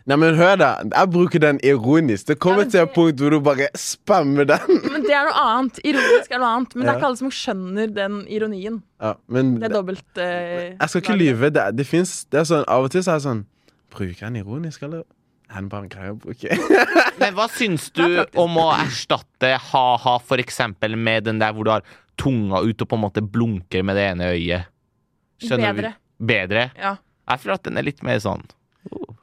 Speaker 2: Nei, men hør da, Jeg bruker den ironisk. Det kommer
Speaker 1: Ja, men
Speaker 2: til et
Speaker 1: det-
Speaker 2: punkt hvor du bare spammer den.
Speaker 1: Men det er noe annet. Ironisk er noe annet. Men det
Speaker 2: Ja.
Speaker 1: er ikke alle som skjønner den ironien.
Speaker 2: Ja, men
Speaker 1: Det er dobbelt eh,
Speaker 2: jeg skal ikke
Speaker 1: lag.
Speaker 2: lyve. Det, det finnes, det er sånn, Av og til så er jeg sånn Bruker jeg den ironisk, eller? Er den bare en greie å bruke?
Speaker 3: Men hva syns du
Speaker 1: Det er praktisk.
Speaker 3: om å erstatte ha-ha for eksempel med den der hvor du har tunga ut og på en måte blunker med det ene øyet?
Speaker 1: Bedre.
Speaker 3: Vi? Bedre?
Speaker 1: Ja.
Speaker 3: Jeg føler at den er litt mer sånn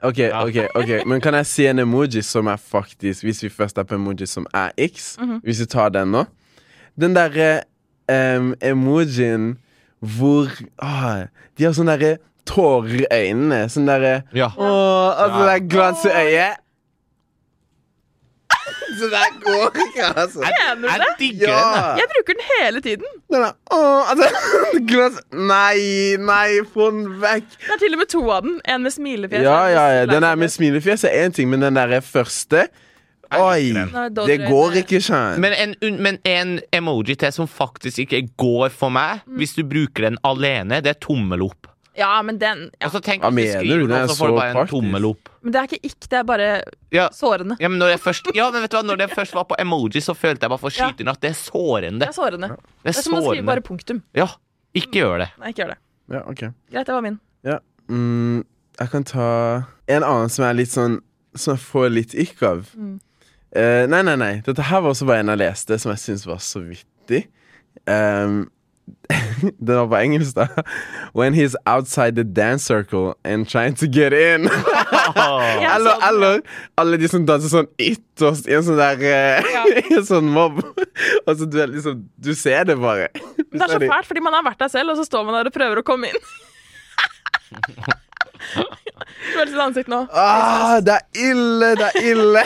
Speaker 2: Ok, ok, ok Men kan jeg si en emoji som er faktisk Hvis vi først er på emoji som er X, hvis vi tar den nå Den derre em, emojien hvor ah, De har sånne derre tårer i øynene. Sånn derre
Speaker 3: Ja.
Speaker 2: Åh, altså det
Speaker 3: Ja.
Speaker 2: er glans i øyet. Så der går ikke, altså.
Speaker 1: Mener du det?
Speaker 3: Jeg digger
Speaker 2: Ja!
Speaker 3: den. jeg.
Speaker 1: Jeg bruker den hele tiden.
Speaker 2: Den er, åh, altså, glans Nei, nei, få den vekk.
Speaker 1: Det er til og med to av den. En med smilefjes.
Speaker 2: Ja,
Speaker 1: en med
Speaker 2: ja, ja. Den der
Speaker 1: smilefjes.
Speaker 2: med smilefjes er én ting, men den derre første Oi!
Speaker 1: Nei, da
Speaker 2: Det
Speaker 1: drøyer
Speaker 2: går
Speaker 1: det.
Speaker 2: ikke, Sean.
Speaker 3: Men en, un- men en emoji til som faktisk ikke går for meg,
Speaker 1: Mm.
Speaker 3: hvis du bruker den alene, det er tommel opp.
Speaker 1: Ja, men den ja.
Speaker 3: Og så tenk
Speaker 2: Hva
Speaker 3: hvis
Speaker 2: mener
Speaker 3: du skriver
Speaker 2: du? Den
Speaker 3: noe,
Speaker 2: er
Speaker 3: så får du
Speaker 2: så
Speaker 3: bare en
Speaker 2: praktisk.
Speaker 3: tommel opp.
Speaker 1: Men det er ikke ikk, det er bare
Speaker 3: Ja.
Speaker 1: sårende.
Speaker 3: Ja, men når jeg først, ja, men vet du hva, når jeg først var på emoji, så følte jeg bare for
Speaker 1: Ja.
Speaker 3: skyten at det er sårende.
Speaker 1: Det er sårende.
Speaker 3: Det
Speaker 1: Det
Speaker 3: er
Speaker 1: er som å skrive
Speaker 3: sårende.
Speaker 1: bare punktum.
Speaker 3: Ja, ikke gjør det.
Speaker 1: Nei, ikke gjør det.
Speaker 2: Ja, ok.
Speaker 1: Greit, det var min.
Speaker 2: Ja. Mm, jeg kan ta en annen som er litt sånn Som jeg får litt ikk av. Eh, nei, nei, nei. Dette her var også bare en jeg leste, som jeg syntes var så vittig. Um, den var på engelsk, da. When he's outside the dance circle and trying to get in.
Speaker 1: Ja,
Speaker 2: eller,
Speaker 1: sånn.
Speaker 2: eller alle de som danser sånn ytterst i en sånn der eh, i en sånn mobb. altså, du, er liksom, du ser det bare. Du
Speaker 1: Men det er
Speaker 2: ser
Speaker 1: så
Speaker 2: det.
Speaker 1: fælt, fordi man har vært der selv, og så står man der og prøver å komme inn. Følelsen i ansiktet nå.
Speaker 2: Ah, det er ille! Det er ille!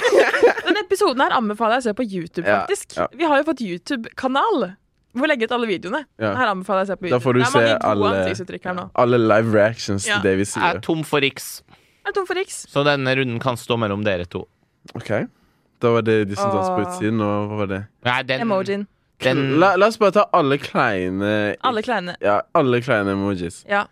Speaker 1: Denne episoden her anbefaler jeg å se på YouTube,
Speaker 2: Ja,
Speaker 1: faktisk.
Speaker 2: ja.
Speaker 1: Vi har jo fått YouTube-kanal. Hvor legge ut alle videoene.
Speaker 2: Ja.
Speaker 1: Her anbefaler jeg å se på YouTube.
Speaker 2: Da får du
Speaker 1: det er mange
Speaker 2: se
Speaker 1: gode
Speaker 2: alle-
Speaker 1: ansiktsuttrykk her nå.
Speaker 2: Alle live reactions
Speaker 1: Ja.
Speaker 2: til det vi
Speaker 3: Jeg er
Speaker 2: sier.
Speaker 3: tom for riks,
Speaker 1: Jeg er tom for riks.
Speaker 3: så denne runden kan stå mellom dere to.
Speaker 2: Ok, Da var det de som danser på
Speaker 1: Åh.
Speaker 2: utsiden, og hva var det?
Speaker 3: Nei, den,
Speaker 1: Emojien.
Speaker 3: den
Speaker 2: La, la oss bare ta alle kleine
Speaker 1: Alle kleine.
Speaker 2: Ja, alle kleine emojis.
Speaker 1: Ja.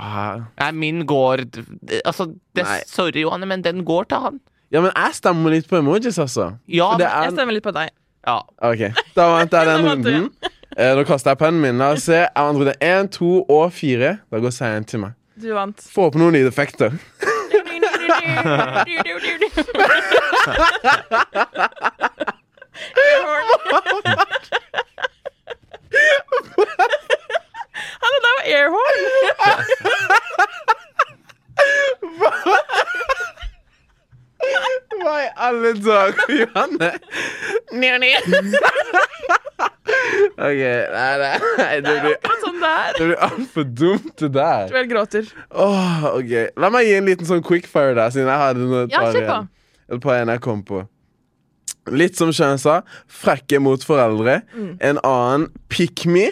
Speaker 2: Ah.
Speaker 3: Nei, min går d- Altså, det,
Speaker 2: Nei.
Speaker 3: sorry, Johanne, men den går til han.
Speaker 2: Ja, men jeg stemmer litt på emojis, altså.
Speaker 3: Ja,
Speaker 2: For det
Speaker 1: Jeg
Speaker 2: er...
Speaker 1: stemmer litt på deg.
Speaker 3: ja.
Speaker 2: OK, da vant jeg den
Speaker 1: Da vant du
Speaker 2: runden. Eh, Da kaster jeg pennen min. La oss se. Jeg vant runde én, to og fire. Da går seieren til meg.
Speaker 1: Du vant.
Speaker 2: Få opp noen lydeffekter.
Speaker 1: Horn. Hallo, det var airhorn!
Speaker 2: Hva i alle dager, Johanne? OK, nei, nei, nei. Det blir,
Speaker 1: Akkurat sånn der.
Speaker 2: det blir altfor dumt, det der.
Speaker 1: Vel gråter.
Speaker 2: Åh, ok La meg gi en liten sånn quickfire da Siden jeg hadde noe
Speaker 1: Ja, kjør på.
Speaker 2: Et par igjen jeg kom på Litt som Sjøen sa Frekke mot foreldre
Speaker 1: Mm.
Speaker 2: En annen Pick me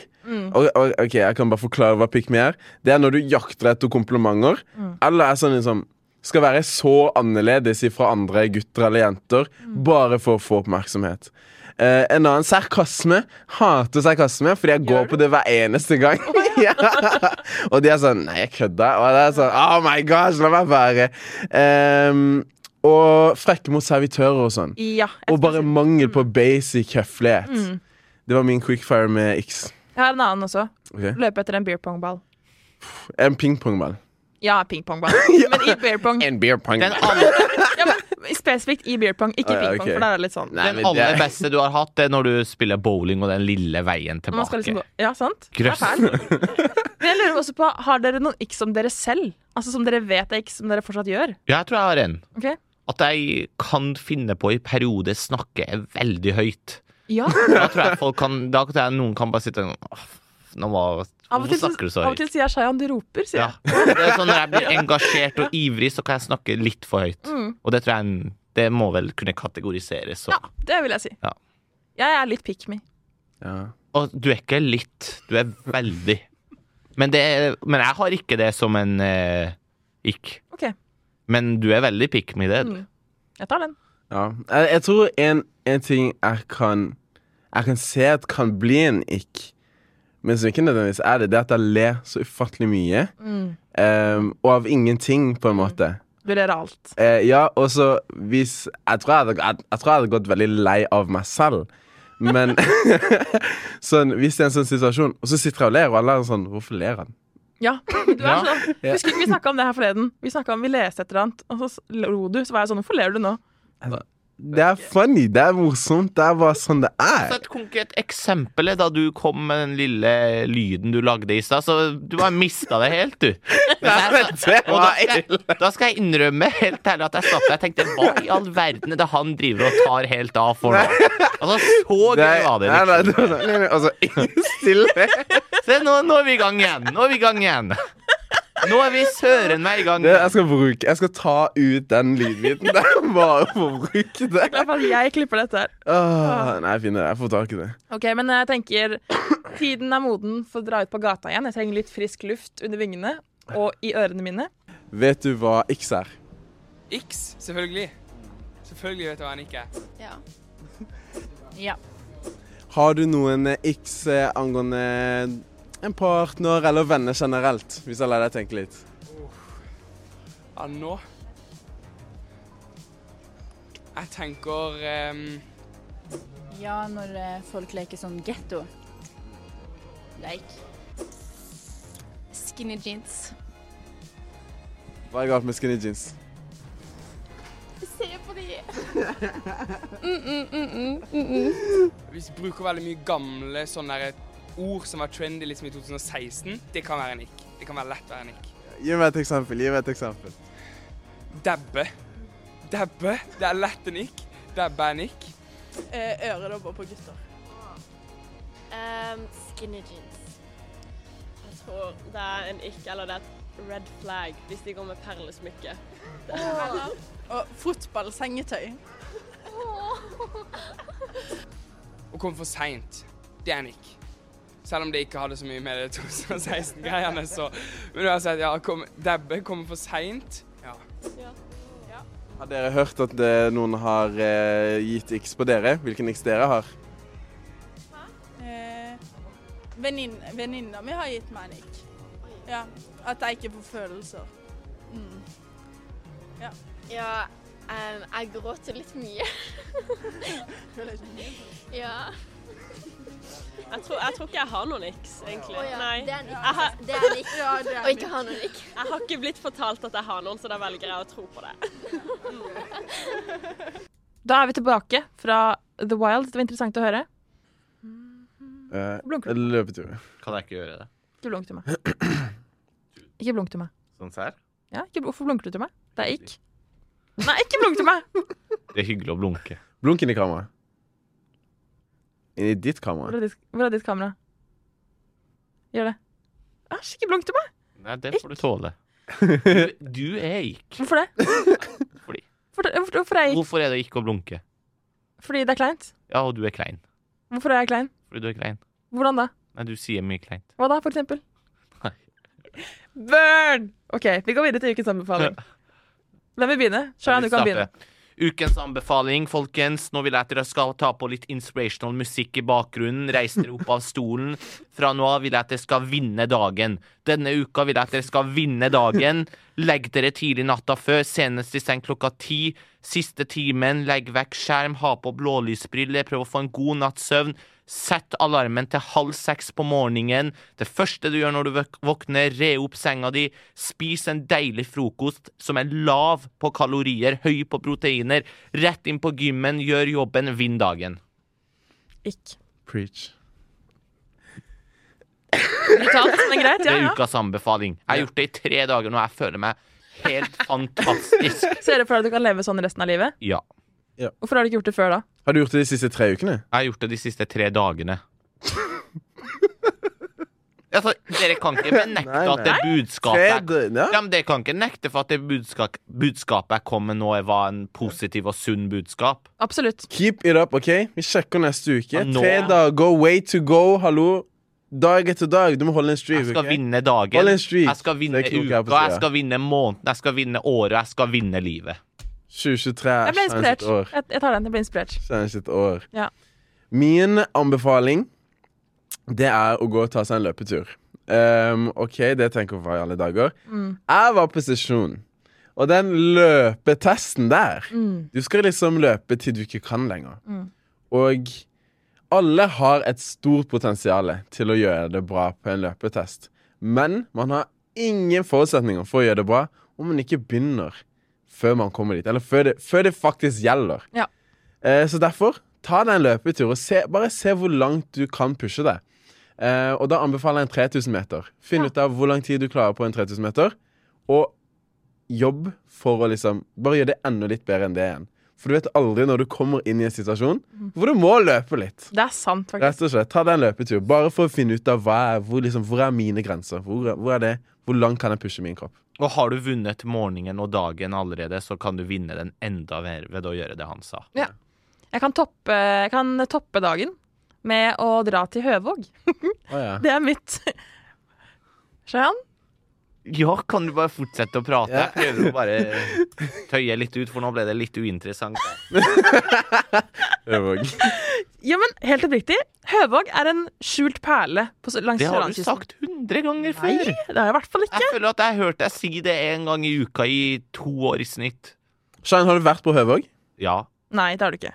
Speaker 2: Og- og- Ok, jeg kan bare forklare hva pick me er Det er når du jakter etter komplimenter
Speaker 1: Mm.
Speaker 2: Eller er sånn liksom Skal være så annerledes fra andre gutter eller jenter
Speaker 1: Mm.
Speaker 2: Bare for å få oppmerksomhet Eh, en annen sarkasme. Hater sarkasme, fordi jeg går
Speaker 1: du?
Speaker 2: på det hver eneste gang. ja. Og de er sånn Nei, jeg kødda. Og det er sånn Oh my gosh, la meg være. Ehm, og frekke mot servitører og sånn.
Speaker 1: Ja. jeg skal
Speaker 2: Og bare
Speaker 1: si-
Speaker 2: mangel
Speaker 3: Mm.
Speaker 2: på basic høflighet. Det var min quickfire med X.
Speaker 1: Jeg har en annen også.
Speaker 2: Ok.
Speaker 1: Løpe etter en beer pong-ball.
Speaker 2: En pingpongball.
Speaker 1: Ja, pingpongball. Men i beer pong.
Speaker 2: En beer pong.
Speaker 3: Mm. Den aller,
Speaker 1: Ja, men spesifikt i beer pong, ikke
Speaker 3: Ah,
Speaker 2: Å, ja,
Speaker 1: pingpong,
Speaker 2: ok.
Speaker 1: for der er det litt sånn.
Speaker 2: Nei,
Speaker 3: den
Speaker 2: men
Speaker 3: aller
Speaker 2: det-
Speaker 3: beste du har hatt, det er når du spiller bowling og den lille veien
Speaker 1: Man skal
Speaker 3: tilbake.
Speaker 1: liksom gå Ja, sant? Det er
Speaker 3: Grøss.
Speaker 1: fælt. Men jeg lurer også på, har dere noen x om dere selv? Altså som dere vet er x som dere fortsatt gjør?
Speaker 3: Ja, jeg tror jeg har en.
Speaker 1: Ok?
Speaker 3: At jeg kan finne på i perioder snakke veldig høyt.
Speaker 1: Ja.
Speaker 3: Da tror jeg folk kan Da tror jeg noen kan bare sitte og «Åh, nå var,
Speaker 1: Av og
Speaker 3: Hvorfor
Speaker 1: til, så,
Speaker 3: snakker du så
Speaker 1: av og
Speaker 3: høyt?
Speaker 1: til sier jeg Shayan, du roper, sier
Speaker 3: Ja.
Speaker 1: jeg.
Speaker 3: Det er sånn Når jeg blir engasjert og ivrig, så kan jeg snakke litt for høyt. Og det tror jeg en- det må vel kunne kategoriseres som.
Speaker 1: Mm. Ja, det vil jeg si.
Speaker 3: Ja.
Speaker 1: Jeg er litt pick me.
Speaker 2: Ja.
Speaker 3: Og du er ikke litt, du er veldig. Men, det er, men jeg har ikke det som en eh, ikk.
Speaker 1: Ok, jeg
Speaker 3: Men du er veldig pick me, det. er du.
Speaker 1: tar den.
Speaker 2: Ja. Jeg, jeg tror en, en ting jeg kan Jeg kan se at kan bli en ikk, men som ikke nødvendigvis er det, det er at jeg ler så ufattelig mye.
Speaker 3: Mm.
Speaker 2: eh, og av ingenting, på en måte.
Speaker 1: Du ler av alt.
Speaker 2: Eh, ja, og så hvis jeg tror jeg, hadde, jeg, jeg tror jeg hadde gått veldig lei av meg selv. Men sånn, hvis det er en sånn situasjon, og så sitter jeg og ler, og alle er sånn Hvorfor ler han?
Speaker 1: Ja. Du er
Speaker 3: Ja.
Speaker 1: sånn. Husker ikke vi snakka om det her forleden? Vi snakket om, vi leste et eller annet, og så s- lo du. Så var jeg sånn Hvorfor ler du nå?
Speaker 2: Altså, Det er funny, det er morsomt, det er bare sånn det
Speaker 3: Så
Speaker 2: er.
Speaker 3: et konkret eksempel er da du kom med den lille lyden du lagde i stad. Så du har mista det helt, du.
Speaker 2: det
Speaker 3: Og da
Speaker 2: var
Speaker 3: skal, jeg, da skal jeg innrømme helt ærlig at jeg satt der og tenkte hva i all verden er det han driver og tar helt av for nå? Altså, så gøy
Speaker 2: Nei,
Speaker 3: var det.
Speaker 2: nei, nei,
Speaker 3: Liksom.
Speaker 2: det var sånn, nei, nei, altså, stille.
Speaker 3: Se, nå, nå er vi i gang igjen. Nå er vi i gang igjen. Nå er vi søren meg i gang.
Speaker 2: Det, jeg skal bruke Jeg skal ta ut den lydbiten der bare for å bruke det.
Speaker 1: Det er fordi jeg klipper dette her.
Speaker 2: Åh, nei, jeg finner det. Jeg får tak i det.
Speaker 1: Ok, men jeg tenker tiden er moden for å dra ut på gata igjen. Jeg trenger litt frisk luft under vingene og i ørene mine.
Speaker 2: Vet du hva X er?
Speaker 4: X, selvfølgelig. Selvfølgelig vet du hva han ikke er.
Speaker 5: Ja. ja.
Speaker 2: Har du noen eh, X eh, angående en partner eller venner generelt? Hvis jeg lar deg tenke litt.
Speaker 4: Ja, nå Jeg tenker ehm,
Speaker 5: Ja, når eh, folk leker sånn getto. Leik. Skinny jeans.
Speaker 2: Hva er galt med skinny jeans?
Speaker 5: Se på de!
Speaker 4: Hvis du bruker veldig mye gamle sånne der ord som var trendy liksom i 2016, det kan være en ikk. Det kan være lett være en ikk.
Speaker 2: Gi meg et eksempel. gi meg et eksempel.
Speaker 4: Dabbe. Dabbe. Det er lett en ikk. Dabbe er en ikk.
Speaker 6: Øredobber Eh, på gutter.
Speaker 7: Um, skinny jeans.
Speaker 6: Jeg tror det er en ikke, eller det er et red flag hvis de går med perlesmykke.
Speaker 7: Ah.
Speaker 6: Og fotballsengetøy.
Speaker 4: Å komme for seint, det er en ikk. Selv om det ikke hadde så mye med det 2016-greiene, så Men uansett, ja. Kom, dabbe kommer for seint. Ja.
Speaker 2: Har dere hørt at eh, noen har eh, gitt X på dere? Hvilken X dere har?
Speaker 6: Eh, venin- Venninna mi har gitt meg en ikk. Ja, at jeg ikke får følelser. Mm.
Speaker 7: Ja, um, jeg gråter litt mye. ja.
Speaker 6: Jeg tror, jeg tror ikke jeg har noen iks, egentlig.
Speaker 7: Å ja.
Speaker 6: Nei.
Speaker 7: Det er en
Speaker 6: Jeg har,
Speaker 7: ikke. Det er en ikke.
Speaker 6: ja, det er en
Speaker 7: Og ikke ha noen ikke.
Speaker 6: Jeg har ikke blitt fortalt at jeg har noen, så da velger jeg å tro på det.
Speaker 1: Da er vi tilbake fra The Wild. Det var interessant å høre.
Speaker 2: Eh,
Speaker 1: Blunker.
Speaker 2: løpetur.
Speaker 3: Kan jeg ikke gjøre det?
Speaker 1: Ikke blunk til meg. Ikke blunk til meg.
Speaker 3: Sånn sær?
Speaker 1: Ja, ikke, hvorfor blunker du til meg? Det er ikke. Nei, ikke blunk til meg!
Speaker 3: Det er hyggelig å blunke.
Speaker 2: Blunk inn i kameraet. Inn i ditt
Speaker 1: Hvor
Speaker 2: kamera.
Speaker 1: er ditt, hvor er ditt kamera? Gjør det. Æsj, ikke blunk til meg!
Speaker 3: Nei, det får du tåle. Du, du er ikk.
Speaker 1: Hvorfor det?
Speaker 3: Fordi.
Speaker 1: Hvor- Hvorfor, hvorfor er jeg ikke?
Speaker 3: Hvorfor er det ikke å blunke?
Speaker 1: Fordi det er kleint?
Speaker 3: Ja, og du er klein.
Speaker 1: Hvorfor er jeg klein?
Speaker 3: Fordi du er klein.
Speaker 1: Hvordan da?
Speaker 3: Nei, du sier mye kleint.
Speaker 1: Hva da, for eksempel?
Speaker 3: Nei.
Speaker 1: Burn! OK, vi går videre til ukens anbefaling. Hvem vil begynne? Shayan, du kan
Speaker 3: Jeg vil
Speaker 1: begynne.
Speaker 3: starte. Ukens anbefaling, folkens. Nå vil jeg at dere skal ta på litt inspirational musikk i bakgrunnen. Reis dere opp av stolen. Fra nå av vil jeg at dere skal vinne dagen. Denne uka vil jeg at dere skal vinne dagen. Legg dere tidlig natta før, senest i seng klokka ti. Siste timen, legg vekk skjerm, ha på blålysbriller, prøv å få en god natts søvn. Sett alarmen til halv seks på morgenen. Det første du gjør når du våk- våkner, re opp senga di, spis en deilig frokost som er lav på kalorier, høy på proteiner, rett inn på gymmen, gjør jobben, vinn dagen.
Speaker 1: Ikk.
Speaker 2: Preach.
Speaker 1: Brutalt, men greit.
Speaker 3: Det
Speaker 1: Ja,
Speaker 3: er
Speaker 1: ja.
Speaker 3: ukas anbefaling. Jeg har gjort det i tre dager nå, jeg føler meg helt fantastisk.
Speaker 1: Ser du for deg at du kan leve sånn resten av livet?
Speaker 3: Ja.
Speaker 1: Hvorfor har du ikke gjort det før da?
Speaker 2: Har du gjort det de siste tre ukene?
Speaker 3: Jeg har gjort det de siste tre dagene. Altså, dere kan ikke benekte
Speaker 2: Nei,
Speaker 3: at det
Speaker 2: nei.
Speaker 3: budskapet jeg
Speaker 2: Tre- ja.
Speaker 3: Ja, men det kan ikke nekte for at det budskap, budskapet jeg kom med nå, var en positiv og sunn budskap.
Speaker 1: Absolutt.
Speaker 2: Keep it up, OK? Vi sjekker neste uke.
Speaker 3: Ja, nå.
Speaker 2: Tre dager, way to go. Hallo. Dag etter dag. Du må holde en streak.
Speaker 3: Jeg skal
Speaker 2: ok?
Speaker 3: vinne
Speaker 2: Hold
Speaker 3: dagen,
Speaker 2: en streak.
Speaker 3: jeg skal vinne
Speaker 2: Det er ikke noe jeg
Speaker 3: uka,
Speaker 2: på siden.
Speaker 3: jeg skal vinne måneden, jeg skal vinne året, jeg skal vinne livet.
Speaker 2: 2023
Speaker 1: Jeg ble
Speaker 2: er Shine
Speaker 1: inspirert.
Speaker 2: sitt år.
Speaker 1: Jeg, jeg tar den. Jeg ble inspirert.
Speaker 2: Shine sitt år.
Speaker 1: Ja.
Speaker 2: Min anbefaling det er å gå og ta seg en løpetur. Ehm, OK, det tenker jeg på i alle dager. Jeg var på sesjon, og den løpetesten der Du skal liksom løpe til du ikke kan lenger. Og alle har et stort potensial til å gjøre det bra på en løpetest. Men man har ingen forutsetninger for å gjøre det bra om man ikke begynner før man kommer dit. Eller før det, før det faktisk gjelder.
Speaker 1: Ja.
Speaker 2: Eh, så derfor, ta deg en løpetur og se, bare se hvor langt du kan pushe deg. Eh, og da anbefaler jeg en 3000 meter. Finn ut av hvor lang tid du klarer på en 3000 meter, og jobb for å liksom Bare gjøre det enda litt bedre enn det igjen. For du vet aldri når du kommer inn i en situasjon hvor du må løpe litt.
Speaker 1: Det er sant, faktisk.
Speaker 2: Rett og slett, Ta deg en løpetur, bare for å finne ut av hva er, hvor, liksom, hvor er mine grenser. Hvor, hvor er det, hvor langt kan jeg pushe min kropp?
Speaker 3: Og har du vunnet morgenen og dagen allerede, så kan du vinne den enda mer ved å gjøre det han sa.
Speaker 1: Jeg kan toppe, jeg kan toppe dagen med å dra til Høvåg.
Speaker 2: Å ja.
Speaker 1: Det er mitt Shayan?
Speaker 3: Ja, kan du bare fortsette å prate?
Speaker 2: Ja.
Speaker 3: Jeg prøver å bare tøye litt ut, for nå ble det litt uinteressant.
Speaker 2: Øvåg.
Speaker 1: Ja, men helt oppriktig. Høvåg er en skjult perle på, s- langs
Speaker 3: Det har du
Speaker 1: Sørlandskysten.
Speaker 3: sagt hundre ganger
Speaker 1: Nei,
Speaker 3: før.
Speaker 1: det har jeg i hvert fall ikke.
Speaker 3: Jeg føler at jeg har hørt deg si det en gang i uka i to år i snitt.
Speaker 2: Shine, har du vært på Høvåg?
Speaker 3: Ja,
Speaker 1: Nei, det har du ikke.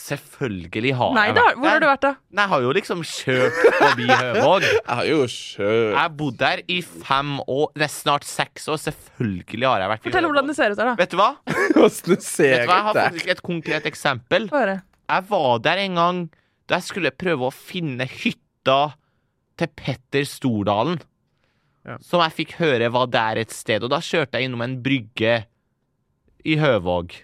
Speaker 3: selvfølgelig har
Speaker 1: Nei,
Speaker 3: jeg
Speaker 1: det har, hvor har du vært da?
Speaker 3: Nei, jeg har jo liksom kjørt forbi Høvåg.
Speaker 2: Jeg har jo kjørt
Speaker 3: Jeg har bodd der i fem år, nei, snart seks år. Selvfølgelig har jeg vært i
Speaker 1: Fortell om hvordan det ser ut der, da.
Speaker 3: Vet du hva? Vet
Speaker 2: Hvordan ser
Speaker 3: du hva? Jeg har
Speaker 2: det?
Speaker 3: faktisk et konkret eksempel.
Speaker 1: Få høre.
Speaker 3: Jeg var der en gang da jeg skulle prøve å finne hytta til Petter Stordalen.
Speaker 2: Ja.
Speaker 3: Som jeg fikk høre var der et sted. Og da kjørte jeg innom en brygge i Høvåg.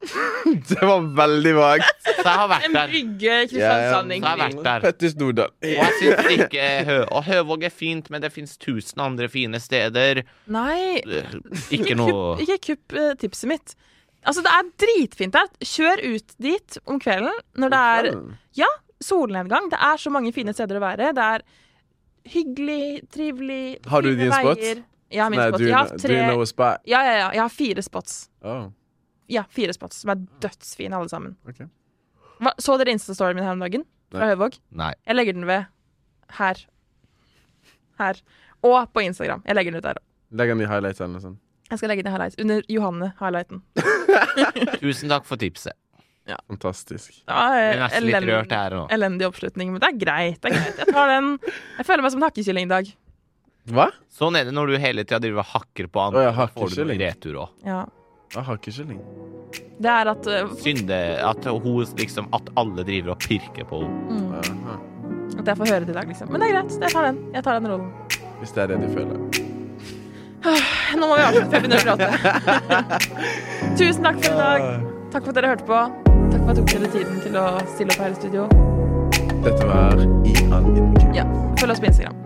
Speaker 2: Det var veldig vagt.
Speaker 3: Så jeg har vært
Speaker 1: En
Speaker 3: der.
Speaker 1: brygge i
Speaker 3: Så
Speaker 1: Kristiansand.
Speaker 3: jeg har vært der.
Speaker 2: Petter Stordal.
Speaker 3: Og jeg synes ikke Hø Og Høvåg er fint, men det fins tusen andre fine steder.
Speaker 1: Nei,
Speaker 3: Eh, Ikke noe
Speaker 1: kupp, ikke kupp eh, tipset mitt. Altså, det er dritfint der. Kjør ut dit om kvelden når det er solnedgang. Det er så mange fine steder å være. Det er hyggelig, trivelig
Speaker 2: Har du
Speaker 1: fine
Speaker 2: din spot?
Speaker 1: veier. Jeg har min
Speaker 2: Nei,
Speaker 1: spot.
Speaker 2: do you
Speaker 1: Jeg
Speaker 2: know,
Speaker 1: har,
Speaker 2: do
Speaker 1: tre,
Speaker 2: you know a spot?
Speaker 1: ja, ja, ja, jeg har fire spots.
Speaker 2: Oh.
Speaker 1: Ja, fire spots som er dødsfine, alle sammen.
Speaker 2: Ok.
Speaker 1: Hva, så dere Insta-storyen min her om dagen? Fra
Speaker 2: Nei.
Speaker 1: Høvåg?
Speaker 3: Nei.
Speaker 1: Jeg legger den ved her. Her. Og på Instagram. Jeg legger den ut der òg.
Speaker 2: Legg en ny highlight eller noe sånt.
Speaker 1: Jeg skal legge den i highlights. Under Johanne-highlighten.
Speaker 3: Tusen takk for tipset.
Speaker 2: Fantastisk.
Speaker 1: Det var,
Speaker 3: Jeg
Speaker 1: eh,
Speaker 3: er nesten litt
Speaker 1: elend-
Speaker 3: rørt her nå.
Speaker 1: Elendig oppslutning, men det er greit. Det er greit. Jeg tar den. Jeg føler meg som en hakkekylling i dag.
Speaker 2: Hva?
Speaker 3: Sånn er det når du hele tida driver og hakker på
Speaker 2: Å,
Speaker 3: andre.
Speaker 2: jeg
Speaker 3: Da får du noe
Speaker 2: hakkekylling.
Speaker 3: i retur òg.
Speaker 1: Ja.
Speaker 2: Jeg har ikke kylling.
Speaker 1: Det er at eh,
Speaker 3: Synde at hun liksom At alle driver og pirker på henne.
Speaker 2: Aha.
Speaker 1: At jeg får høre det i dag, liksom. Men det er greit. Jeg tar den. Jeg tar den rollen.
Speaker 2: Hvis det er det du føler.
Speaker 1: Nå må vi avslutte før vi begynner å prate. Tusen takk for i dag. Takk for at dere hørte på. Takk for at dere tok dere tiden til å stille opp her i studio.
Speaker 2: Dette var I all ydmykhet.
Speaker 1: Ja, Følg oss på Instagram.